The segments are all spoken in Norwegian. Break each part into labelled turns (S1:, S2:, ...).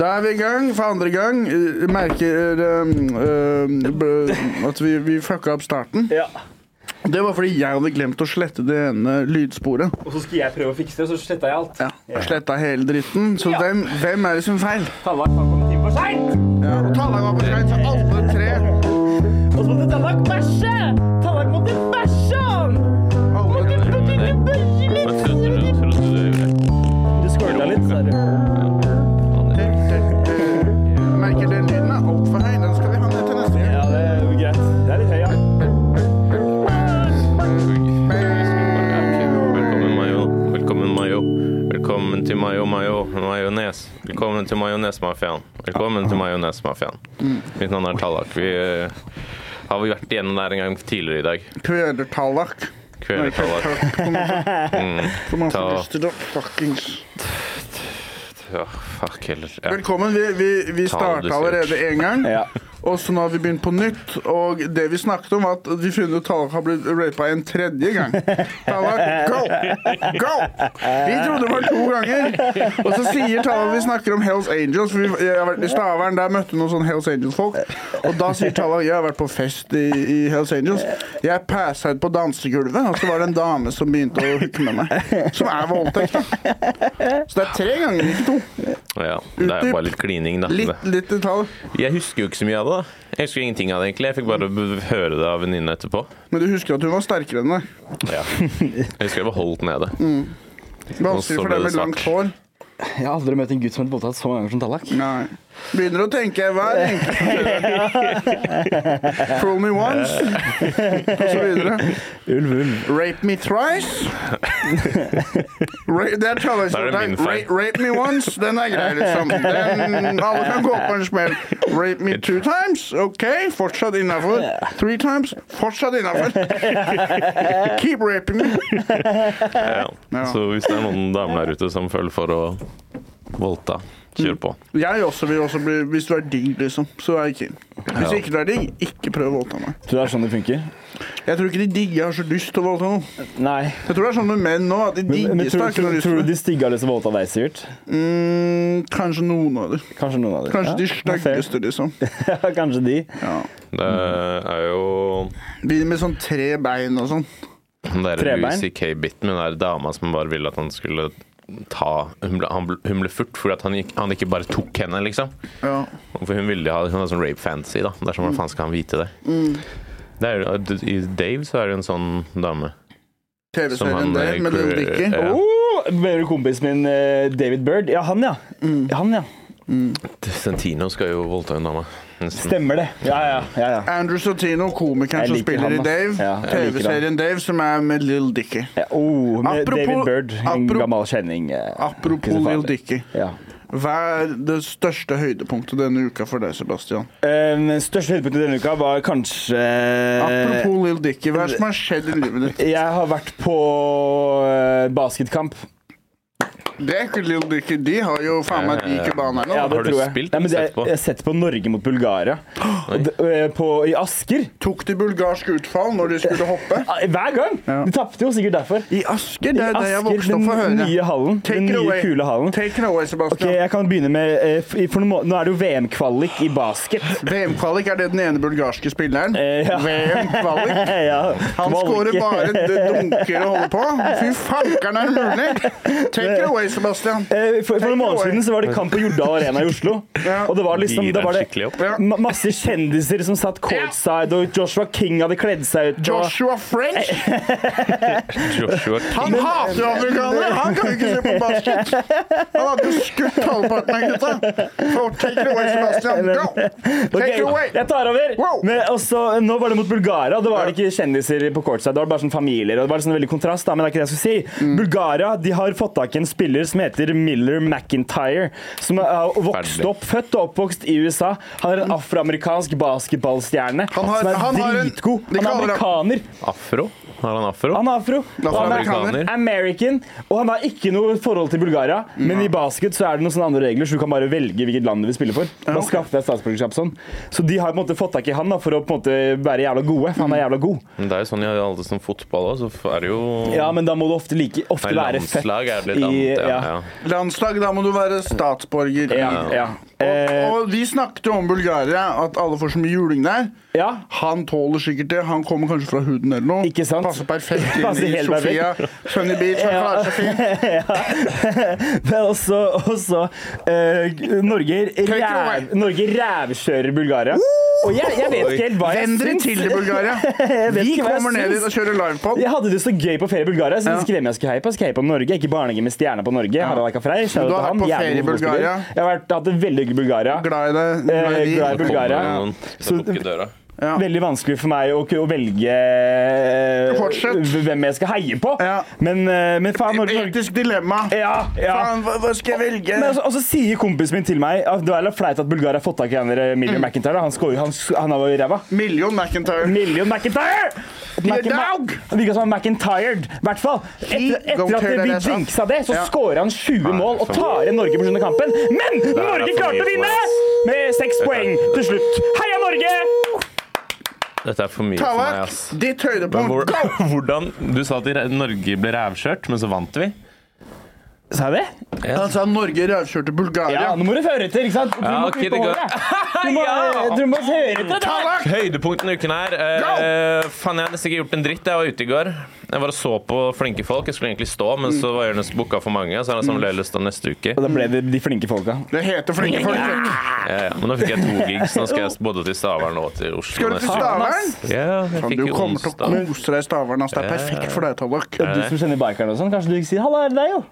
S1: Da er vi i gang for andre gang. Eh, Merker eh, eh, b- at vi, vi fucka opp starten.
S2: Ja.
S1: Det var fordi jeg hadde glemt å slette det ene lydsporet.
S2: Og så skulle jeg prøve å fikse det, og så sletta jeg alt.
S1: Ja, jeg Sletta hele dritten. Så hvem, hvem er det som feil?
S2: Tallak kom en time for seint!
S1: Ja, og Tallag var på skrein, så alle tre
S2: Og så måtte Tallak bæsje! Tallak måtte bæsje!
S1: alle,
S2: Du skåla litt, sa du.
S1: Jeg Merker den lyden er altfor høy. Den skal vi ha ned til neste gang.
S2: Ja, det er jo greit. Det er litt høy, ja.
S3: Velkommen, Mayo. Velkommen, Mayo. Velkommen til Mayo Mayo Majones. Velkommen til Majonesmafiaen. Velkommen til Majonesmafiaen.
S1: Mm.
S3: Mitt navn er Tallak. Vi eh, har vi vært igjennom der en gang tidligere i dag.
S1: Kvelertallak.
S3: Kvelertallak. Mm.
S1: Som har
S3: Ta-
S1: lyst til å fuckings
S3: Ja, fuck heller. Ja.
S1: Velkommen. Vi, vi, vi starta allerede én gang.
S2: Ja.
S1: Og så nå har vi begynt på nytt, og det vi snakket om, var at vi funnet ut Tallak har blitt rapa en tredje gang. Tallak, go! Go! Vi trodde det var to ganger. Og så sier Tallak vi snakker om Hells Angels, for vi, jeg har vært i Stavern, der møtte vi noen sånne Hells Angels-folk. Og da sier Tallak jeg har vært på fest i, i Hells Angels. Jeg passa ut på dansegulvet, og så var det en dame som begynte å hooke med meg. Som er voldtekt, da. Så det er tre ganger, ikke to.
S3: ja. Det er bare litt klining, da.
S1: Litt, litt detalj.
S3: Jeg husker jo ikke så mye av det. da. Jeg husker ingenting av det, egentlig. Jeg fikk bare b- høre det av venninnen etterpå.
S1: Men du husker at hun var sterkere enn deg.
S3: Ja. Jeg husker jeg var holdt nede.
S1: Vanskelig
S3: Og så
S1: for
S3: ble
S1: deg
S3: det
S1: med langt
S3: svart.
S1: hår.
S4: Jeg har aldri møtt en gutt som er voldtatt så mange ganger som Tallak.
S1: Nei. Begynner å tenke hver enkelt Crawl me once, og så videre.
S4: Ulv, ulv.
S1: Rape me thrice. Ra- det er
S3: Da er det
S1: tallekjorten.
S3: min
S1: Ra
S3: feil.
S1: rape me once, den er grei, liksom. Den, alle kan gå på en smell. Rape me two times, OK, fortsatt innafor. Three times, fortsatt innafor. Keep raping me.
S3: Ja. Så hvis det er noen damer der ute som føler for å voldta, kjør på.
S1: Jeg også vil også bli Hvis du er digg, liksom, så er jeg keen. Hvis
S3: Ja.
S1: ikke du er digg, ikke prøv å voldta meg.
S4: Tror du det er sånn det funker?
S1: Jeg tror ikke de digge har så lyst til å voldta noen.
S4: Nei.
S1: Jeg tror det er sånn med menn nå, at de
S4: Men, men
S1: diggeste
S4: tror,
S1: har ikke
S4: tror,
S1: noe lyst
S4: tror
S1: til det.
S4: du de stygge har lyst til å voldta deg, Sivert?
S1: Mm, kanskje noen av dem.
S4: Kanskje noen av dem?
S1: Kanskje de
S4: Ja, fair.
S1: styggeste, liksom.
S4: Ja, Kanskje de.
S1: Ja.
S3: Det er jo
S1: De med sånn tre bein og sånn.
S3: den der
S4: Trebein?
S3: Louis C.K.-biten med den der dama som bare ville at han skulle ta Hun ble, han ble, hun ble furt fordi at han, ikke- han ikke bare tok henne, liksom.
S1: Ja.
S3: For hun ville ha hun hadde sånn rape fantasy, da. Det er sånn, Hvordan faen skal han vite det? det er, jo- I Dave så er det jo en sånn dame. Som
S1: TV-serien
S3: han,
S1: der
S3: eh,
S1: med Little
S3: Cre-
S1: Dicky.
S3: Ja.
S4: Oh, mener du kompisen min eh, David Bird? Ja, han ja. Han ja.
S3: Sentino skal jo voldta en dame. Nesten.
S4: Stemmer det. Ja, ja. ja, ja.
S1: Andrew Sotino, komikeren
S4: Jeg
S1: som
S4: liker
S1: spiller
S4: han,
S1: i
S4: ass.
S1: Dave.
S4: Ja, jeg liker
S1: TV-serien Dave, som er med Little Dicky.
S4: ja. Oh, med
S1: Apropos-
S4: David Bird, en
S1: apro-
S4: gammel kjenning. eh, ikke
S1: Apropos
S4: så farlig.
S1: Little Dicky.
S4: Ja.
S1: Hva er det største høydepunktet denne uka for deg, Sebastian?
S4: Um, største høydepunktet denne uka var kanskje
S1: Apropos Little Dicky, hva er det som har skjedd i livet ditt?
S4: Jeg har vært på eh, basketkamp.
S1: Det er ikke Little Dicky, de har jo faen meg de ikke baner nå.
S4: Eh, Ja, det
S3: Har du
S4: tror jeg.
S3: spilt
S4: Nei, men
S3: eller
S4: jeg,
S3: sett på?
S4: jeg har sett på Norge mot Bulgaria. Og det- eh, på, I Asker.
S1: Tok de bulgarsk utfall når de skulle hoppe?
S4: Ah, Hver gang! De tapte jo sikkert derfor.
S1: I Asker, det er det jeg
S4: Asker,
S1: vokste opp for å
S4: den
S1: høre.
S4: nye hallen.
S1: Take
S4: Den
S1: it
S4: nye
S1: away.
S4: kule hallen.
S1: Take it away,
S4: Ok,
S1: Sebastian.
S4: jeg kan begynne med eh, f- i- for noen må- Nå er det jo VM-kvalik i basket.
S1: VM-kvalik, er det den ene bulgarske spilleren?
S4: Eh, ja.
S1: VM-kvalik.
S4: ja,
S1: Han
S4: kvalik.
S1: skårer bare d- dunker og holder på. Fy fankeren, er det mulig? Take it away, Sebastian.
S4: Eh, For, for noen måneder
S1: away.
S4: siden så var det kamp på Jordal Arena i Oslo.
S1: Ja.
S4: Og det var liksom
S3: Gir
S4: da
S3: deg
S4: var det
S3: skikkelig opp.
S1: Ja.
S4: ma- masse kjendiser som satt courtside, og Joshua King hadde kledd seg ut. og-
S1: Joshua French,
S3: Joshua
S1: han hater jo amerikanere! Han kan jo ikke se på basket! Han hadde jo skutt halvparten av gutta. Så Take it away, Sebastian. Go! Take it
S4: Ok,
S1: away.
S4: jeg tar over.
S1: Wow.
S4: Men også, nå var det mot Bulgaria. og Da var det ikke kjendiser på courtside. Det var bare sånn familier. og det var sånn veldig kontrast, da, men det er ikke det jeg skulle si.
S1: Mm.
S4: Bulgaria de har fått tak i en spiller som heter Miller McIntyre. Som er vokst
S3: Ferdig.
S4: opp, født og oppvokst i USA. Han er en afroamerikansk basketballstjerne
S1: Han har-
S4: som er
S1: han har en-
S4: dritgod.
S1: de
S4: Han er
S1: kaller
S4: amerikaner.
S3: Afro? Har han afro?
S4: Han er afro. Og han er
S3: Afroamerikaner.
S4: American. Og han har ikke noe forhold til Bulgaria, men i basket så er det noen sånne andre regler, så du kan bare velge hvilket land du vil spille for. Da skaffer deg statsborgerskap sånn. Så de har på en måte fått tak i han da, for å på en måte være jævla gode, for han er jævla god.
S3: Men Det er jo sånn i alle sånn fotball òg, så er det jo
S4: Ja, men da må du ofte, like, ofte
S3: Nei,
S4: være fett
S3: Landslag er det litt
S4: i-
S3: annet. Ja,
S4: ja.
S3: ja.
S1: Landslag, da må du være statsborger.
S4: Ja, ja.
S1: Og,
S4: Eh,
S1: og vi snakket jo om Bulgaria, at alle får så mye juling der.
S4: ja.
S1: Han tåler sikkert det. Han kommer kanskje fra huden eller noe.
S4: Ikke sant?
S1: Passer perfekt inn
S4: Passer
S1: i
S4: helt
S1: Sofia. Sunny Beach, han klarer seg fint.
S4: Men også, også eh, Norge, ræv,
S1: over.
S4: Norge rævkjører Bulgaria. Og jeg, jeg vet ikke helt hva jeg
S1: Venn dere
S4: syns.
S1: til i Bulgaria.
S4: Jeg vet
S1: Vi
S4: ikke hva jeg
S1: kommer ned dit
S4: syns.
S1: og kjører livepod.
S4: Jeg hadde det så gøy på ferie i Bulgaria, så
S1: Ja.
S4: jeg hvem jeg skulle heie på. Jeg skulle heie på Norge, ikke barnehage med stjerner på Norge. Harald Eika Frey, shout
S1: du
S4: out
S1: har vært
S4: til han.
S1: på
S4: Jævlig
S1: ferie i
S4: god skuespiller.
S1: Bulgaria?
S4: Jeg har vært, hatt det veldig hyggelig i Bulgaria.
S1: Glad i det. Glad i
S4: Eh,
S1: de.
S4: glad i Bulgaria.
S3: Noen,
S4: Så-
S3: så dukker døra.
S1: Ja.
S4: Veldig vanskelig for meg å, å velge eh,
S1: Fortsett.
S4: hvem jeg skal heie på.
S1: Ja.
S4: Men, eh, men faen, Norge, Norge.
S1: Etisk dilemma.
S4: Ja, ja.
S1: Faen, hva, hva skal jeg velge?
S4: Men altså, og så sier kompisen min til meg at det var litt flaut at Bulgaria har fått tak i han der Million
S1: Mm.
S4: McIntyre. da. Han, skår, han, han er jo i ræva.
S1: Million McIntyre.
S4: Million McIntyre!
S1: You're dog!
S4: Det virka som han McIntyred. I hvert fall. Etter,
S1: go
S4: etter at
S1: tear
S4: vi
S1: that ass up.
S4: jinxa det, så
S1: Ja.
S4: skårer han 20 mål og
S3: for-
S4: tar igjen Norge på slutten av kampen. Men
S3: er
S4: Norge
S3: for
S4: klarte
S3: mye
S4: å vinne!
S3: for
S4: Med seks poeng til slutt. Heia Norge!
S3: Dette er for mye for meg,
S1: Tallak,
S3: ass.
S1: ditt
S3: Men hvor,
S1: høydepunkt. Go!
S3: hvordan Du sa at i- Norge ble rævkjørt, men så vant vi.
S4: Sa jeg det?
S1: Han sa Norge rævkjørte
S4: Ja,
S1: Bulgaria.
S4: nå må du høre etter, ikke sant? Du
S3: Ja,
S4: må
S3: ok,
S4: klippe
S3: det går.
S4: håret. Du må,
S3: Ja!
S4: du må høre etter. da.
S1: Tallak!
S3: Høydepunkt denne uken her eh, Faen, jeg har nesten ikke gjort en dritt. Jeg var ute i går. Jeg var og så på flinke folk. Jeg skulle egentlig stå, men så var Jonis booka for mange. Så han har
S1: Mm.
S3: samledes neste uke.
S4: Da ble det de flinke folka.
S1: Det heter flinke folk.
S3: Ja, ja. Men nå fikk jeg to gigs. Nå skal jeg både til Stavern og til Oslo.
S1: Skal du til
S3: neste uke.
S1: Stavern?
S3: Ja, jeg
S1: Faen,
S3: fikk
S1: Du
S3: jo
S1: kommer til
S3: onsdag.
S1: å kose deg i Stavern. ass. Det er perfekt for deg, Tallak.
S4: Du som kjenner bikerne og sånn, kanskje du ikke sier 'halla, er det deg', jo?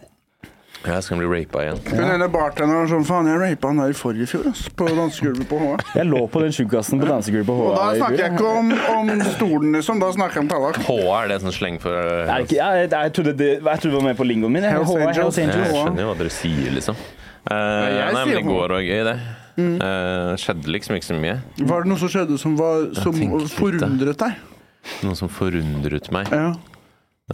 S3: Ja, jeg skal bli rapa igjen.
S1: Hun ene bartenderen sånn Faen, jeg rapa han der i forrige fjor, ass. På dansegulvet på HA.
S4: Jeg lå på den tjukkasen på dansegulvet på HA.
S1: Og da
S4: i fjor,
S1: snakker jeg
S4: ja.
S1: ikke om, om stolen, liksom. Da snakker jeg om Tallak.
S3: HA er det sånn sleng for eh,
S4: Er det ikke, jeg, jeg, jeg, trodde det, jeg trodde det var med på lingoen min. jeg.
S1: Hells
S4: HA,
S1: Angels.
S4: Hells Angels.
S3: Jeg
S1: HA.
S3: skjønner jo hva dere sier, liksom. Eh,
S1: jeg
S3: nei, men
S1: sier Mm.
S3: i
S1: HA.
S3: går var gøy, det. Eh, skjedde liksom ikke så mye.
S1: Var det noe som skjedde som, var, som
S3: tenker litt, da.
S1: forundret deg?
S3: Noe som forundret meg.
S1: Ja.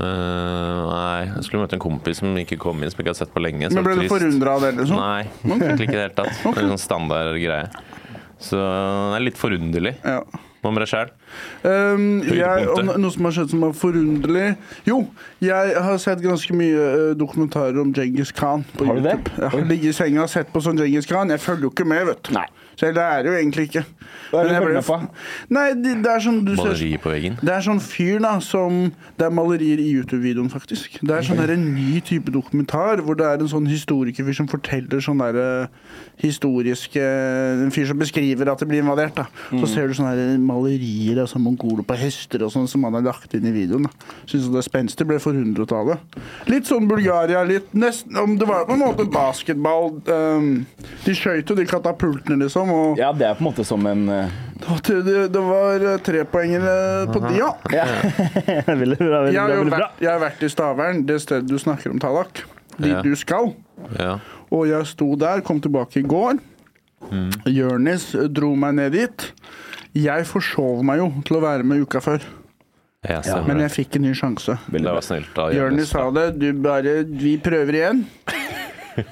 S3: Eh, nei, jeg skulle møte en kompis som ikke kom inn, som jeg ikke hadde sett på lenge. så
S1: Men ble du
S3: trist.
S1: forundra av det, liksom?
S3: Nei, egentlig ikke i det hele tatt. Det er en sånn standard greie. Så det er litt forunderlig.
S1: Ja.
S3: Hva med deg sjæl?
S1: Um, jeg, og
S3: Høydepunktet.
S1: no- noe som har skjedd som er forunderlig Jo, jeg har sett ganske mye eh, dokumentarer om Djengis Khan. På
S4: Har du det?
S1: YouTube. Jeg har ligget i senga og sett på sånn Djengis Khan. Jeg følger jo ikke med, vet du.
S4: Nei.
S1: Så jeg lærer jo egentlig ikke.
S4: Hva
S1: Men
S4: er det du
S1: jeg
S4: følger
S1: ble-
S4: med på?
S1: Nei, det, det er sånn du ser
S3: Maleriet på veggen.
S1: Det er sånn fyr da som Det er malerier i YouTube-videoen, faktisk. Det er sånn der en ny type dokumentar hvor det er en sånn historikerfyr som forteller sånn der eh, historiske En fyr som beskriver at det blir invadert. da
S3: Mm.
S1: Så ser du sånne der malerier av sånn mongoler på hester og sånn som han har lagt inn i videoen. da Syns det er spenstig. Ble forundret av det. Litt sånn Bulgaria, litt nesten om Det var jo på en måte basketball. ehm, de skøyt jo de katapultene, liksom. Og
S4: Ja, det er på en måte som en eh,
S1: det, det var eh, trepoengere på de, ja.
S4: ja. veldig bra. Veldig,
S1: Jeg har
S4: bra,
S1: jo
S4: veldig bra.
S1: vært, jeg har vært i Stavern, det stedet du snakker om, Tallak. Dit
S3: Ja.
S1: du skal.
S3: Ja.
S1: Og jeg sto der, kom tilbake i går.
S4: Mm.
S1: Jørnis eh, dro meg ned dit. Jeg forsov meg jo til å være med uka før,
S3: Jeg
S1: men
S3: stemmer det.
S1: jeg fikk en ny sjanse.
S3: Det var snilt av
S1: Jørnis
S3: Jonis.
S1: sa det. Du bare Vi prøver igjen.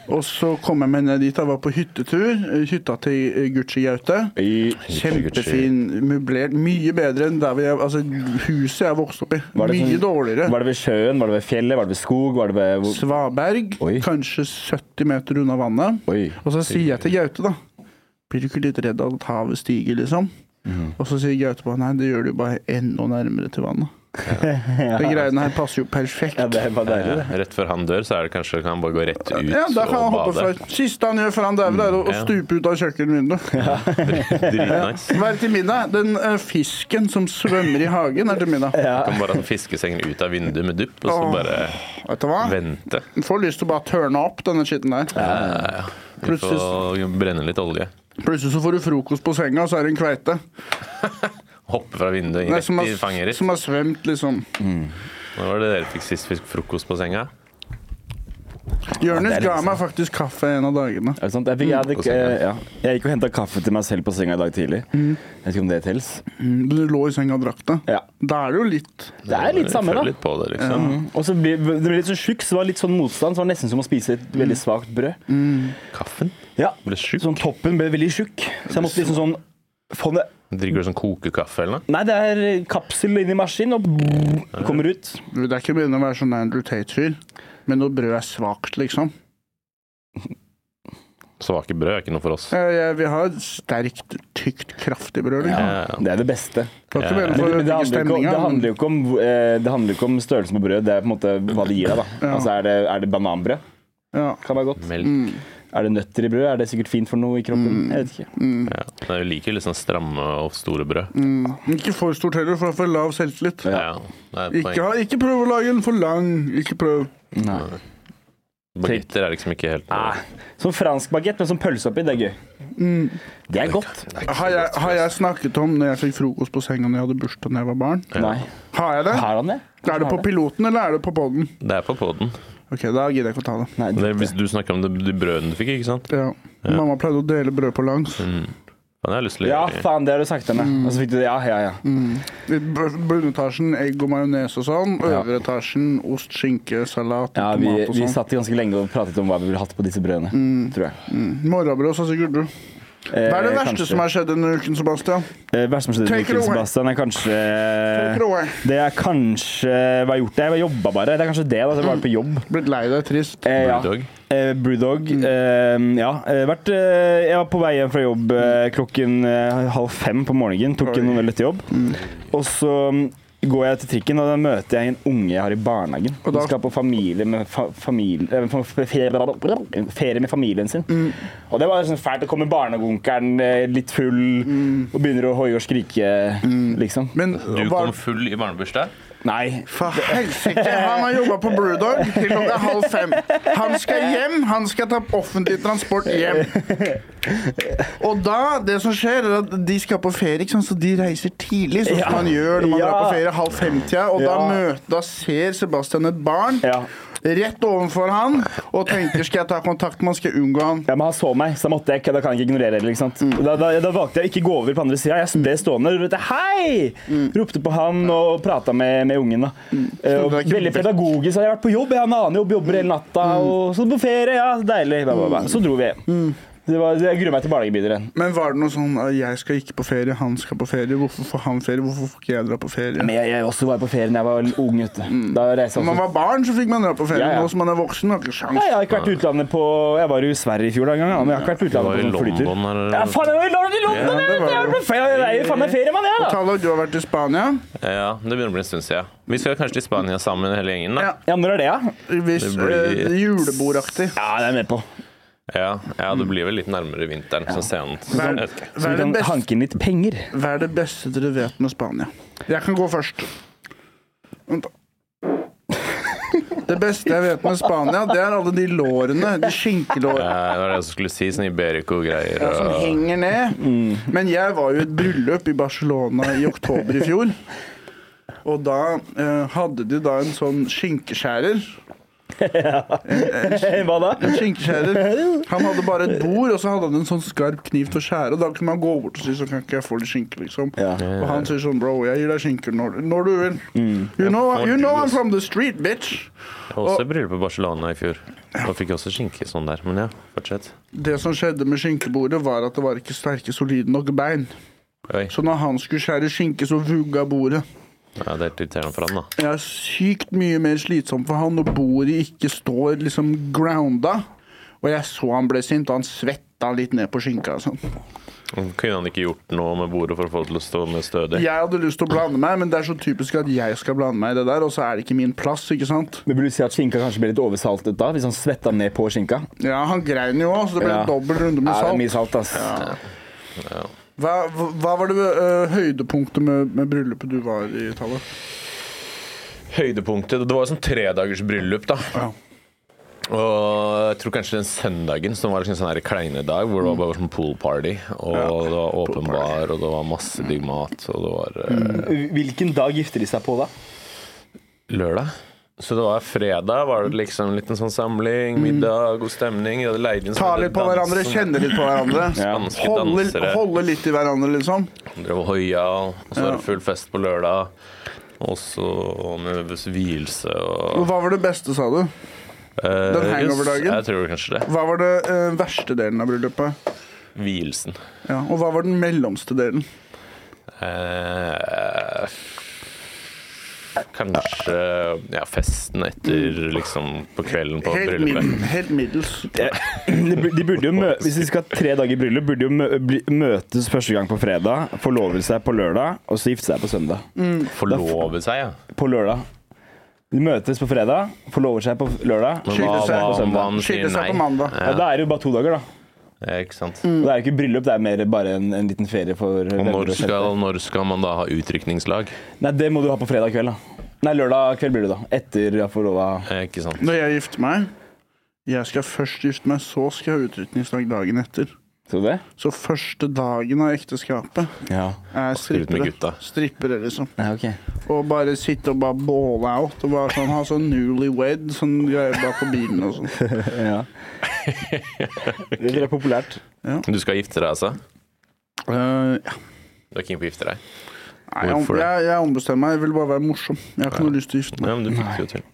S1: Og så kom jeg meg ned dit. Jeg var på hyttetur. eh, Hytta til Gucci Gaute.
S4: I-
S1: Kjempefin, møblert. Mye bedre enn der vi, altså, huset jeg vokste opp i.
S4: Var det
S1: Mye
S4: sånn-
S1: dårligere.
S4: Var det ved sjøen, var det ved fjellet, var det ved skog, var det ved hvor-
S1: Svaberg,
S4: Oi.
S1: kanskje 70 meter unna vannet.
S4: Oi.
S1: Og så sier jeg til Gaute, da Blir du ikke litt redd av at havet stiger, liksom? Og så sier Gaute bare nei, det gjør du bare enda nærmere til vannet. De greiene her passer jo perfekt.
S4: Ja,
S1: Ja,
S4: det var deilig, det.
S3: Rett før han dør, så er det kanskje kan han bare gå rett ut
S1: da kan han
S3: og
S1: hoppe
S3: bade.
S1: fra Siste han gjør før han dauer, er å å
S3: ja.
S1: stupe ut av kjøkkenvinduet.
S3: Dritnice.
S1: Hva er til middag? Den eh, fisken som svømmer i hagen, er til middag.
S3: Kan bare ha fiskesengen ut av vinduet med dupp, og så bare
S1: Vet du hva?
S3: vente.
S1: Du får lyst til å bare tørne opp denne skitten der.
S3: Vi
S1: Plutselig-
S3: får brenne litt olje.
S1: Plutselig så får du frokost på senga, og så er det en kveite.
S3: Hoppe fra vinduet
S1: Nei,
S3: rett
S1: som,
S3: i
S1: har,
S3: fangeret.
S1: som har svømt, liksom.
S3: Når var det dere fikk sist fisk frokost på senga?
S1: Jonis
S4: Ja, det er
S1: ga
S4: litt
S1: meg faktisk kaffe en av dagene.
S4: Er det sant? Jeg, fikk, jeg,
S1: Mm.
S4: hadde,
S3: På
S4: ikke-
S3: senga.
S4: ja. jeg gikk og henta kaffe til meg selv på senga i dag tidlig. Jeg vet ikke om det tels.
S1: Mm, Du lå i senga og drakk det.
S4: Mm. Ja.
S1: Da er det jo litt
S4: Det er litt samme, da.
S3: Følg litt på det, liksom.
S4: Og så ble det ble litt sånn tjukk, så det var litt sånn motstand. Så det var nesten som å spise et veldig svakt brød.
S3: Kaffen?
S4: Mm. Ja.
S3: Ble sjuk?
S4: Sånn toppen ble veldig tjukk. Så jeg måtte liksom sånn få det
S3: Drikker du sånn kokekaffe eller noe?
S4: Nei, det er kapsel inni maskinen og brrr, kommer ut.
S1: Det er ikke å begynne å være sånn Andrew Tate-fyr, men når brød er svakt, liksom.
S3: Svake brød er ikke noe for oss.
S1: Eh, jeg vil ha et sterkt, tykt, kraftig brød. Liksom.
S3: Ja, ja.
S4: Det er det beste.
S1: Kan ikke mene
S4: Men,
S1: for å
S4: men det,
S1: øke
S4: handler ikke, om- det,
S1: stemninga.
S4: handler jo ikke om, eh, det handler jo ikke om størrelsen på brød, det er på en måte hva det gir deg. da. Altså, er, det, er det bananbrød?
S1: Ja. Mm,
S4: Kan være godt.
S3: Melk.
S4: Er det nøtter i brød? Er det sikkert fint for noe i kroppen? Jeg vet ikke.
S1: mm,
S3: Ja. Men Jeg liker litt sånn stramme og store brød.
S1: Men mm. Ikke for stort heller, for å få lav selvtillit.
S4: Ja.
S3: Ja, det er et
S1: Ikke,
S3: poeng.
S1: ha- ikke prøv å lage den for lang. Ikke prøv.
S3: Bagetter er liksom ikke helt
S4: Som Ah, sånn fransk bagett, men som pølse oppi, det er gøy. Mm. Det er godt.
S1: Har jeg,
S4: altså.
S1: har jeg snakket om når jeg fikk frokost på senga når jeg hadde bursdag da jeg var barn?
S4: Nei.
S1: Har jeg det?
S4: Har han det?
S1: Er det på piloten, eller er det på poden?
S3: Det er på poden.
S1: Ok, da gidder jeg ikke å ta det.
S4: Nei,
S3: Det er Hvis du snakker om det, de brødene du fikk, ikke sant?
S1: Ja. Mamma pleide å dele brød på langs.
S4: Mm.
S3: Men jeg har lyst til å
S4: Ja,
S3: gjøre
S4: faen, det har du sagt til meg.
S1: Mm.
S4: Og så fikk du det. Ja, ja, ja.
S1: I b- Bunnetasjen egg og majones og sånn. Øvre etasjen ost, skinke, salat,
S4: ja vi,
S1: tomat og
S4: vi
S1: sånn.
S4: satt ganske lenge og pratet om hva vi ville hatt på disse brødene, tror jeg.
S1: Morrabrød, sa sikkert du.
S4: Eh,
S1: Hva er det verste som har skjedd denne uken, Sebastian?
S4: Det Eh, verste som skjedde i
S1: Take it
S4: uken,
S1: away.
S4: Sebastian, er kanskje Eh.
S1: Take it away.
S4: Det er kanskje Hva har jeg gjort? Jeg har jobba bare. Det er kanskje det. da, at Jeg
S1: Mm.
S4: var på jobb.
S1: Blitt lei deg, trist.
S4: Eh, ja.
S3: Brewdog.
S4: Eh, Brewdog.
S1: Mm.
S4: Eh, ja. Eh, vært, eh, jeg var på vei hjem fra jobb
S1: Mm.
S4: eh, klokken eh, halv fem på morgenen. Tok en øl etter jobb. Og så mm, går jeg til trikken, og da møter jeg en unge jeg har i barnehagen.
S1: Og da-
S4: Hun skal på familie med fa familie, eh, fa- fe- ferie, ferie med familien sin.
S1: Mm.
S4: Og det var sånn fælt. Det kommer barnehageonkelen eh, litt full
S1: Mm.
S4: og begynner å hoie og skrike, liksom.
S1: Men
S3: Du
S1: hva-
S3: kom full i barnebursdag?
S4: Nei.
S1: For helsike, han har jobba på Brewdog til klokka halv fem. Han skal hjem, han skal ta offentlig transport hjem. Og da, det som skjer, er at de skal på ferie, ikke sant? så de reiser tidlig. Sånn som
S4: Ja.
S1: man gjør når man
S4: Ja.
S1: drar på ferie halv fem-tida. Og da,
S4: Ja.
S1: møter, da ser Sebastian et barn
S4: Ja.
S1: rett ovenfor han og tenker skal jeg ta kontakt, man skal unngå han.
S4: Ja, men han så meg, så da måtte jeg ikke, da kan jeg ikke ignorere det. ikke sant?
S1: Mm.
S4: Da, da, da valgte jeg å ikke gå over på andre sida. Jeg ble stående og ropte 'hei!'
S1: Mm.
S4: Ropte på han og prata med, med ungen. da. Eh, og
S1: det er Mm. ikke Mm.
S4: veldig
S1: vekk.
S4: pedagogisk. Jeg har vært på jobb, jeg har en annen jobb, jobber hele natta. og Så på ferie, ja, deilig. Ba, ba,
S1: Mm.
S4: ba. Så dro vi hjem. Det var, jeg gruer meg til barnehagebiler igjen.
S1: Men var det noe sånn at jeg skal ikke på ferie, han skal på ferie, hvorfor får han ferie, hvorfor får ikke jeg dra på ferie?
S4: Men jeg, jeg også var på ferie da jeg var ung. vet du. Da
S1: Når Mm.
S4: reiste jeg
S1: man
S4: også.
S1: var barn, så fikk man dra på ferie.
S4: Ja, ja.
S1: Nå som man er voksen, har man ikke sjans.
S4: Nei, jeg har ikke vært i utlandet på Jeg var i Sverige i fjor da en gang, da, men jeg har ikke vært i
S3: Du var i
S4: utlandet på sånn flytur.
S3: London her
S4: Ja, faen, jeg var i London, i London,
S1: Ja, det
S4: jeg, vet
S1: var
S4: du! Jeg
S1: du.
S4: var på ferie, jeg er jo faen meg feriemann, jeg, da!
S1: Tallag, du har vært i Spania.
S3: Ja, det begynner å bli en stund siden. Vi skal kanskje til Spania sammen hele gjengen, da.
S1: Ja.
S4: Ja, når er det, ja?
S1: Hvis
S3: Det blir-
S1: eh, julebordaktig.
S4: Ja, det er jeg med på.
S3: Ja, ja det blir vel litt nærmere vinteren, sånn sent.
S1: Hva
S3: Jeg
S1: er,
S3: vet ikke.
S1: hva,
S4: Vi
S1: er det
S4: kan
S1: beste,
S4: hanke inn litt penger.
S1: hva er det beste dere vet med Spania? Jeg kan gå først. Vent da. Det beste jeg vet med Spania, det er alle de lårene. De
S3: Eh,
S1: skinkelårene
S3: Det var det jeg skulle si, sånn Iberico-greier
S1: som
S3: og
S1: henger ned.
S4: Mm.
S1: Men jeg var jo i et bryllup i Barcelona i oktober i fjor. Og da eh, hadde de da en sånn skinkeskjærer.
S4: Hva da?
S1: En skinkeskjærer. Han hadde bare et bord, og så hadde han en sånn skarp kniv til å skjære. Og da kunne man gå bort og si så kan ikke jeg få litt skinke, liksom.
S4: Ja.
S1: Og han sier sånn bro, jeg gir deg skinker når, når du vil. You, know, you know I'm from the street, bitch.
S3: Jeg var Også i bryllup i Barcelona i fjor. Og fikk også skinke sånn der. Men ja, fortsett.
S1: Det som skjedde med skinkebordet, var at det var ikke sterke, solide nok bein.
S3: Oi.
S1: Så når han skulle skjære skinke, så vugga bordet.
S3: Ja, det er litt irriterende for han, da.
S1: Det er sykt mye mer slitsomt for han når bordet ikke står liksom grounda. Og jeg så han ble sint, og han svetta litt ned på skinka og sånn.
S3: Kunne han ikke gjort noe med bordet for å få det til å stå mer stødig?
S1: Jeg hadde lyst til å blande meg, men det er så typisk at jeg skal blande meg i det der, og så er det ikke min plass, ikke sant?
S4: Men Vil du si at skinka kanskje ble litt oversaltet da? Hvis han svetta ned på skinka?
S1: Ja, han grein jo òg, så det ble
S4: Ja.
S1: en dobbel runde med
S4: Ja, det er
S1: salt.
S4: mye salt, ass.
S1: Hva, hva var det ø, høydepunktet med, med bryllupet du var i, Tallet?
S3: Høydepunktet Det var jo sånn tredagers bryllup, da.
S1: Ja.
S3: Og jeg tror kanskje den søndagen som var liksom sånn her kleine dag, hvor det var bare sånn pool party, og det var åpen bar, og det var masse digg mat, og det var eh,
S4: Hvilken dag gifter de seg på, da?
S3: lørdag. Så det var fredag, var det liksom en liten sånn samling, middag, god stemning. Jeg hadde leid inn
S1: Mm. Ta litt på hverandre, kjenne litt på hverandre.
S3: Spanske
S1: Holde,
S3: dansere.
S1: holde litt i hverandre, liksom.
S3: Drev og hoia, og så var det full fest på lørdag. Og så med vielse og
S1: Og Hva var det beste, sa du?
S3: Eh,
S1: den hangover-dagen?
S3: Jeg tror kanskje det.
S1: Hva var det ø, verste delen av bryllupet?
S3: Vielsen.
S1: Ja, og hva var den mellomste delen?
S3: Eh, Kanskje ja, festen etter, liksom, på kvelden på
S1: Helt,
S3: bryllupet.
S1: middel- helt middels.
S4: De bur- de burde jo mø Hvis de skal ha tre dager i bryllup, burde de jo mø bli møtes første gang på fredag, forlove seg på lørdag, og så gifte seg på søndag.
S3: Forlove seg, ja.
S4: På lørdag. De møtes på fredag, forlover seg på lørdag.
S3: Men hva
S1: Skille seg på
S3: hva om
S1: søndag.
S3: han sier
S1: Skille seg
S3: nei?
S1: på mandag.
S4: Ja,
S3: Ja,
S4: da er det jo bare to dager, da.
S3: ja, ikke sant.
S4: Og Det er jo ikke bryllup, det er mer bare en, en liten ferie for
S3: Og
S1: Mm.
S4: venner
S3: når
S4: og kjente.
S3: skal, når skal man da ha utrykningslag?
S4: Nei, det må du ha på fredag kveld, da. Nei, lørdag kveld blir det, da. Etter jeg har forlova
S3: Eh, Ikke sant.
S1: Når jeg gifter meg Jeg skal først gifte meg, så skal jeg ha utrykningsdag dagen etter.
S4: Tror du det?
S1: Så første dagen av ekteskapet
S4: Ja.
S1: er
S3: Skal ut med gutta.
S1: strippere. Strippere, liksom.
S4: ja ok.
S1: Og bare sitte og bare balle out. Og bare sånn, ha sånn newlywed sånn greier bak på bilen og sånn.
S4: Ja. Det tror jeg er populært.
S3: Du skal gifte deg, altså?
S1: Eh, ja.
S3: Du er keen på å gifte deg?
S1: Nei, jeg,
S3: Hvorfor det?
S1: jeg, jeg ombestemmer meg. Jeg vil bare være morsom. Jeg har ikke noe lyst til å gifte
S3: Ja,
S1: meg.
S3: men du fikk det jo til.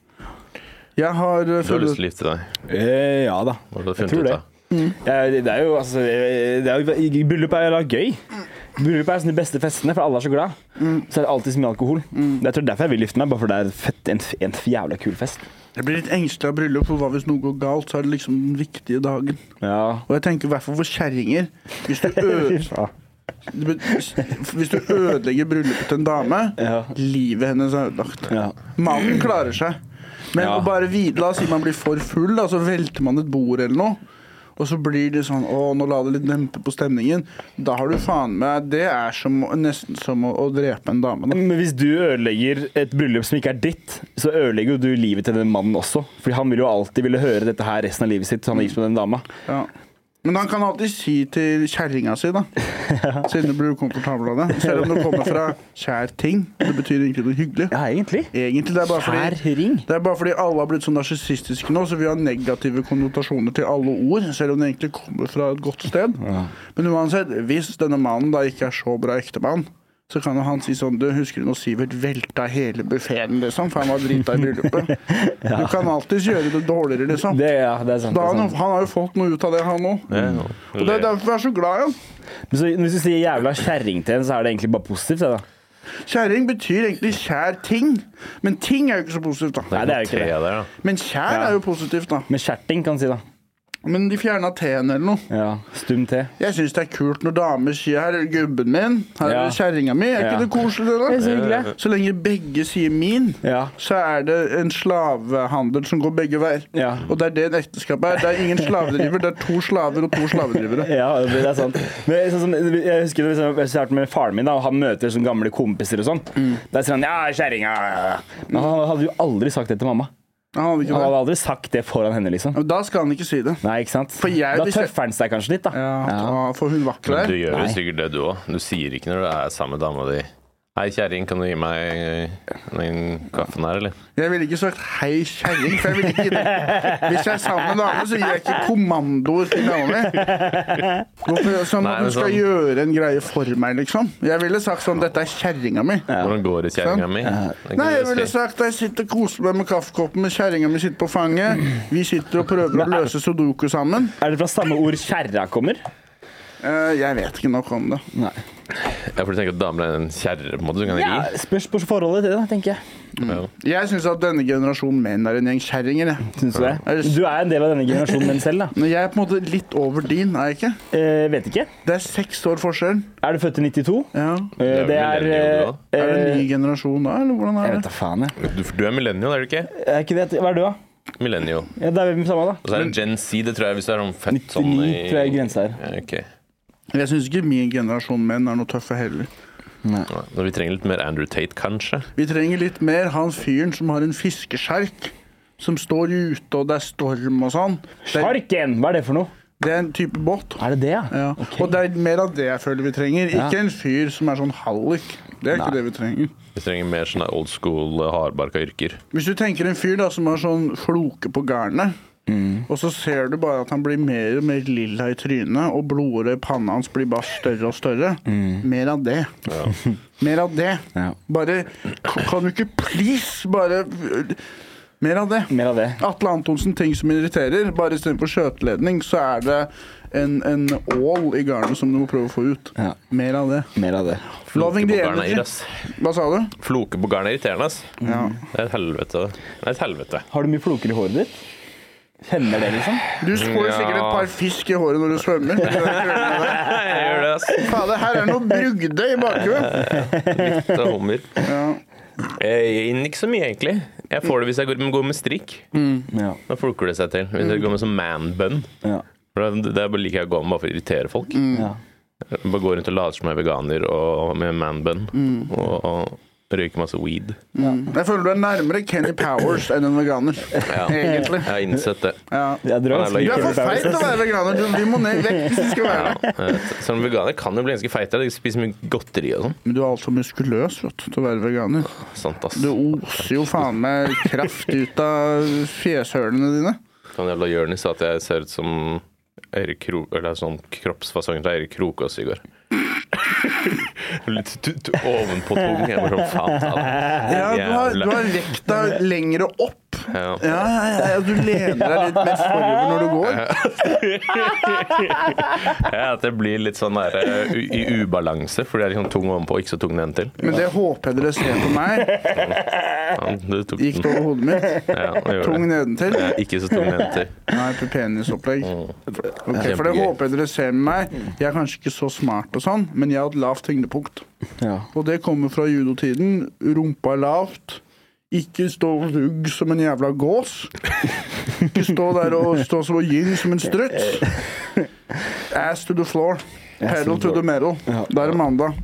S1: Jeg har eh,
S3: Du har
S1: funnet-
S3: lyst til å gifte deg.
S4: Eh, ja da.
S3: Hva har du
S4: Jeg
S3: funnet
S4: tror
S3: ut
S4: det.
S3: av?
S4: Ja, det det er jo altså eh, det er jo, i- i Bryllup er jo gøy. Bryllup er sånn de beste festene, for alle er så glad. Så er det alltid så mye alkohol. Jeg tror derfor jeg vil gifte meg, bare for det er fett, en, f- en f- jævla kul fest.
S1: Jeg blir litt engstelig av bryllup, for hva hvis noe går galt? Så er det liksom den viktige dagen.
S4: Ja.
S1: Og jeg tenker i hvert fall for kjerringer. Hvis, du ø-
S4: ja.
S1: hvis du ødelegger bryllupet til en dame,
S4: Ja.
S1: livet hennes er ødelagt. Mannen klarer seg. Men
S4: Ja.
S1: å bare hvile, la oss si man blir for full, da, så velter man et bord eller noe. Og så blir det sånn Å, nå la det litt dempe på stemningen. Da har du faen meg Det er som, nesten som å, å drepe en dame. Da.
S4: Men hvis du ødelegger et bryllup som ikke er ditt, så ødelegger jo du livet til den mannen også. Fordi han vil jo alltid ville høre dette her resten av livet sitt, så han er gift med den dama.
S1: Ja. Men han kan alltid si til kjerringa si, da. Siden du blir ukomfortabel av det. Selv om det kommer fra kjær ting. Det betyr egentlig noe hyggelig.
S4: Ja, egentlig.
S1: Egentlig, det er bare fordi
S4: ring.
S1: det er bare fordi alle har blitt så narsissistiske nå, så vi har negative konnotasjoner til alle ord, selv om det egentlig kommer fra et godt sted. Men uansett, hvis denne mannen da ikke er så bra ektemann, så kan jo han si sånn Du husker du når Sivert velta hele buffeen, liksom? For han var drita i bryllupet. Du kan alltids gjøre det dårligere, liksom.
S4: Det, ja, det er sant.
S1: Da
S4: det
S1: har
S4: er
S1: han,
S4: sant.
S1: han har jo fått noe ut av det, han òg.
S3: Ja, ja.
S1: Og det er derfor jeg er så glad i han.
S4: Men så, hvis du sier jævla kjerring til en, så er det egentlig bare positivt, det da.
S1: Kjerring betyr egentlig kjær ting, men ting er jo ikke så positivt, da.
S4: Nei, det er jo ikke det.
S3: Tre der, da.
S1: Men kjær er jo positivt, da.
S4: Men kjerting kan si, da.
S1: Men de fjerna T-en eller noe.
S4: Ja, Stum te.
S1: Jeg syns det er kult når damer sier 'her er det gubben min', 'her er
S4: Ja.
S1: det kjerringa mi'. Er
S4: Ja.
S1: ikke det koselig, det? da?
S4: hyggelig.
S1: Så lenge begge sier 'min',
S4: Ja.
S1: så er det en slavehandel som går begge veier.
S4: Ja.
S1: Og det er det et ekteskap er. Det er ingen slavedriver, det er to slaver og to slavedrivere.
S4: Ja, det er sant. Men sånn som, jeg husker det, hvis jeg hvis jeg har vært med faren min, da, og han møter sånn gamle kompiser og sånn. Da sier han 'ja, kjerringa'. Men han hadde jo aldri sagt det til mamma.
S1: Han hadde ikke
S4: Han
S1: det.
S4: hadde aldri sagt det foran henne, liksom.
S1: Men Da skal han ikke si det.
S4: Nei, ikke sant?
S1: jeg-
S4: da
S1: hvis jeg-
S4: tøffer han seg kanskje litt, da.
S1: Ja, da- For hun var ikke
S3: Men du
S1: der.
S3: gjør jo
S4: Nei.
S3: sikkert det, du òg. Du sier ikke når du er sammen med dama di Hei, kjerring, kan du gi meg eh, den kaffen her, eller?
S1: Jeg ville ikke sagt 'hei, kjerring', for jeg ville ikke gi det. Hvis jeg er sammen med en dame, så gir jeg ikke kommandoer til dama mi. Hvorfor- Som
S3: Nei,
S1: at
S3: men
S1: hun skal
S3: sånn-
S1: gjøre en greie for meg, liksom. Jeg ville sagt sånn 'dette er kjerringa mi'.
S3: Hvordan går det,
S4: Sånn.
S3: kjerringa mi? Det kan
S1: Nei, jeg
S3: du
S1: ville
S3: si.
S1: sagt jeg sitter og koser meg med kaffekoppen med kjerringa mi sitter på fanget. Vi sitter og prøver å løse sudoku sammen.
S4: Er det fra samme ord 'kjerra' kommer?
S1: Eh, Jeg vet ikke nok om det.
S4: Nei.
S3: Ja, for du tenker at damer er en kjerre, på en måte? Du kan
S4: Ja,
S3: ikke
S4: spørs på forholdet til det, da, tenker jeg.
S3: gi. Ja.
S1: Jeg syns at denne generasjonen menn er en gjeng kjerringer. jeg.
S4: Syns du det? Du er en del av denne generasjonen menn selv, da.
S1: Men jeg er på en måte litt over din, er jeg ikke?
S4: Eh, vet ikke.
S1: Det er seks år forskjell.
S4: Er du født i 92?
S1: Ja.
S4: Eh,
S3: Det er vel
S4: det er
S3: millennium,
S4: eh,
S1: Er det en ny generasjon da, eller hvordan
S4: Jeg
S1: er det?
S4: vet da faen, jeg.
S3: Du, du er millennial, er du ikke?
S4: Er ikke det, hva er du, da?
S3: Millennial.
S4: Ja, det er vi samme, da.
S3: Og så er det Gen Z, det tror jeg, hvis du er sånn fett
S4: 99
S3: sånn i
S4: tror jeg grensa er.
S3: Ja, ok.
S1: Jeg syns ikke min generasjon menn er noe tøffe heller.
S3: Ja, Når vi trenger litt mer Andrew Tate, kanskje?
S1: Vi trenger litt mer han fyren som har en fiskeskjerk. Som står ute, og det er storm og sånn. Det er,
S4: Sjarken! Hva er det for noe?
S1: det er en type båt.
S4: Er det det,
S1: Ja. Og det er mer av det jeg føler vi trenger.
S4: Ja.
S1: Ikke en fyr som er sånn hallik. Det er
S4: Nei.
S1: ikke det vi trenger.
S3: Vi trenger mer sånn old school, eh, hardbarka yrker.
S1: Hvis du tenker en fyr da som har sånn floke på garnet,
S4: Mm.
S1: og så ser du bare at han blir mer og mer lilla i trynet, og blodåret i panna hans blir bare større og større. Mer av det. Mer av det.
S4: Mm. Ja.
S1: Bare Kan du ikke please bare Mer av det.
S4: Mer av det.
S1: Atle Antonsen, ting som irriterer. Bare istedenfor skjøteledning, så er det en, en ål i garnet som du må prøve å få ut.
S4: Ja.
S1: Mer av det.
S4: Mer av det.
S1: Loving
S3: Floke
S1: the
S3: på garnet er
S1: energy.
S3: irriterende, ass.
S1: Hva sa du?
S3: Floke på garnet er irriterende, ass.
S1: Ja.
S3: Det er et helvete. Det er et helvete.
S4: Har du mye floker i håret ditt? Kjenner det, liksom?
S1: Du får jo
S3: Ja.
S1: sikkert et par fisk i håret når du svømmer. Det er krøllene der.
S3: Jeg gjør det, ass.
S1: Fader, her er noe brugde i bakhuet.
S3: Det er hummer.
S1: Ja. mm.
S3: Eh, Ikke så mye, egentlig. Jeg får det hvis jeg går, går med strikk.
S4: Ja.
S3: Da floker det seg til. Hvis jeg går med sånn man-bun.
S4: ja.
S3: Det det er bare liker jeg å gå med bare for å irritere folk.
S4: ja.
S3: Jeg Bare går rundt og later som jeg er veganer og med man-bun. Og, og røyker masse weed.
S1: Jeg føler du er nærmere Kenny Powers enn en veganer. Egentlig.
S3: Jeg har innsett det.
S1: Ja.
S4: Jeg drar
S3: Han er
S4: ganske
S1: Du er
S4: mye Kenny
S1: for feit til å
S4: Powers.
S1: være veganer. Du, vi må ned i vekt hvis du skal være
S3: Ja.
S1: det.
S3: eh, Som veganer kan jo bli ganske feit. Jeg spiser mye godteri og sånn.
S1: Men du er altfor muskuløs vet, du, til å være veganer.
S3: Sant, ass.
S1: Det oser jo faen meg kraft ut av fjeshølene dine.
S3: Han Sånn jævla Jonis sa at jeg ser ut som Eirik Kro... Eller sånn kroppsfasong til Eirik Krokås i går. Litt t- t- ovenpå tung. Jeg bare sånn faen. da.
S1: Ja, du har, du har vekta lengre opp.
S3: Ja.
S1: Ja, ja, ja, ja, du lener deg litt mer forover når du går.
S3: Ja, at det blir litt sånn der eh, u- i ubalanse, fordi jeg er liksom tung ovenpå og ikke så tung nedentil.
S1: Men det håper jeg dere ser på meg.
S3: Ja, du tok
S1: Gikk det
S3: den.
S1: over hodet mitt?
S3: Ja, jeg gjorde
S1: Tung
S3: det.
S1: nedentil?
S3: Ja, ikke så tung nedentil.
S1: Nei, på penisopplegg.
S3: Mm.
S1: Ok, for det
S3: Kjempegøy.
S1: håper jeg dere ser med meg. Jeg er kanskje ikke så smart og sånn, men jeg har et lavt tyngdepunkt.
S4: Ja.
S1: Og det kommer fra judotiden. Rumpa er lavt. Ikke stå rugg som en jævla gås. Ikke stå der og stå som en gyng som en struts. Ass to the floor. Pedal to the metal. Da er det mandag.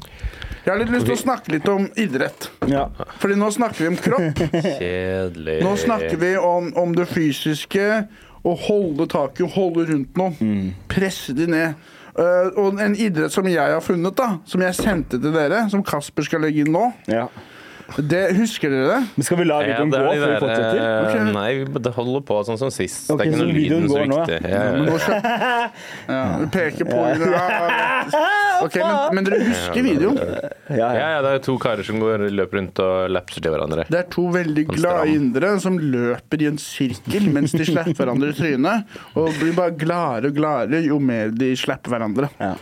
S1: Jeg har litt lyst til å snakke litt om idrett.
S4: Ja.
S1: Fordi nå snakker vi om kropp.
S3: Kjedelig.
S1: Nå snakker vi om, om det fysiske. Å holde taket, holde rundt noe. Presse de ned. Eh, og en idrett som jeg har funnet, da, som jeg sendte til dere, som Kasper skal legge inn nå
S4: ja.
S1: det, Husker dere det?
S4: Men skal vi la
S3: Ja,
S4: videoen
S3: det
S4: gå
S3: er
S4: før vi
S3: de
S4: fortsetter?
S3: der
S1: Ok.
S3: eh, Nei, vi det holder på sånn som sist. Det
S4: Ok,
S3: er ikke
S4: så
S3: noe
S4: videoen
S3: lyden så
S4: går nå, ja.
S3: viktig. Ja, ja, ja.
S1: Nå skjø- ja, du peker på ja, ja. Ok, men, men dere husker videoen?
S4: Ja, ja.
S3: Ja, ja, det er to karer som går løper rundt og lapser til hverandre.
S1: Det er to veldig glade
S3: stram.
S1: indere som løper i en sirkel mens de slapper hverandre i trynet. Og blir bare gladere og gladere jo mer de slapper hverandre.
S4: Ja.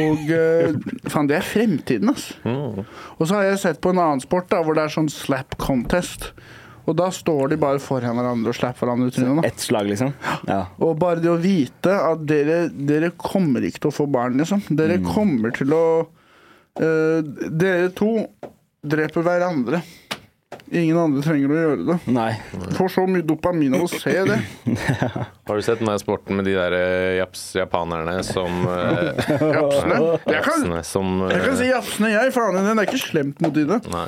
S1: Og eh, faen, det er fremtiden, ass. Og så har jeg sett på en annen sport da, hvor det er sånn slap contest. Og da står de bare foran hverandre og slapper hverandre i trynet. da.
S4: Ett slag, liksom? Ja.
S1: Og bare det å vite at dere, dere kommer ikke til å få barn, liksom. Dere
S4: Mm.
S1: kommer til å eh, Dere to dreper hverandre. Ingen andre trenger å gjøre det.
S4: Nei.
S1: Får så mye dopamin av å se det.
S3: Har du sett den der sporten med de der eh, japs, japanerne som eh,
S1: Japsene. Jeg kan,
S3: Japsene som eh,
S1: jeg kan si japsene, jeg. Faen, den er ikke slemt mot dine.
S3: Nei.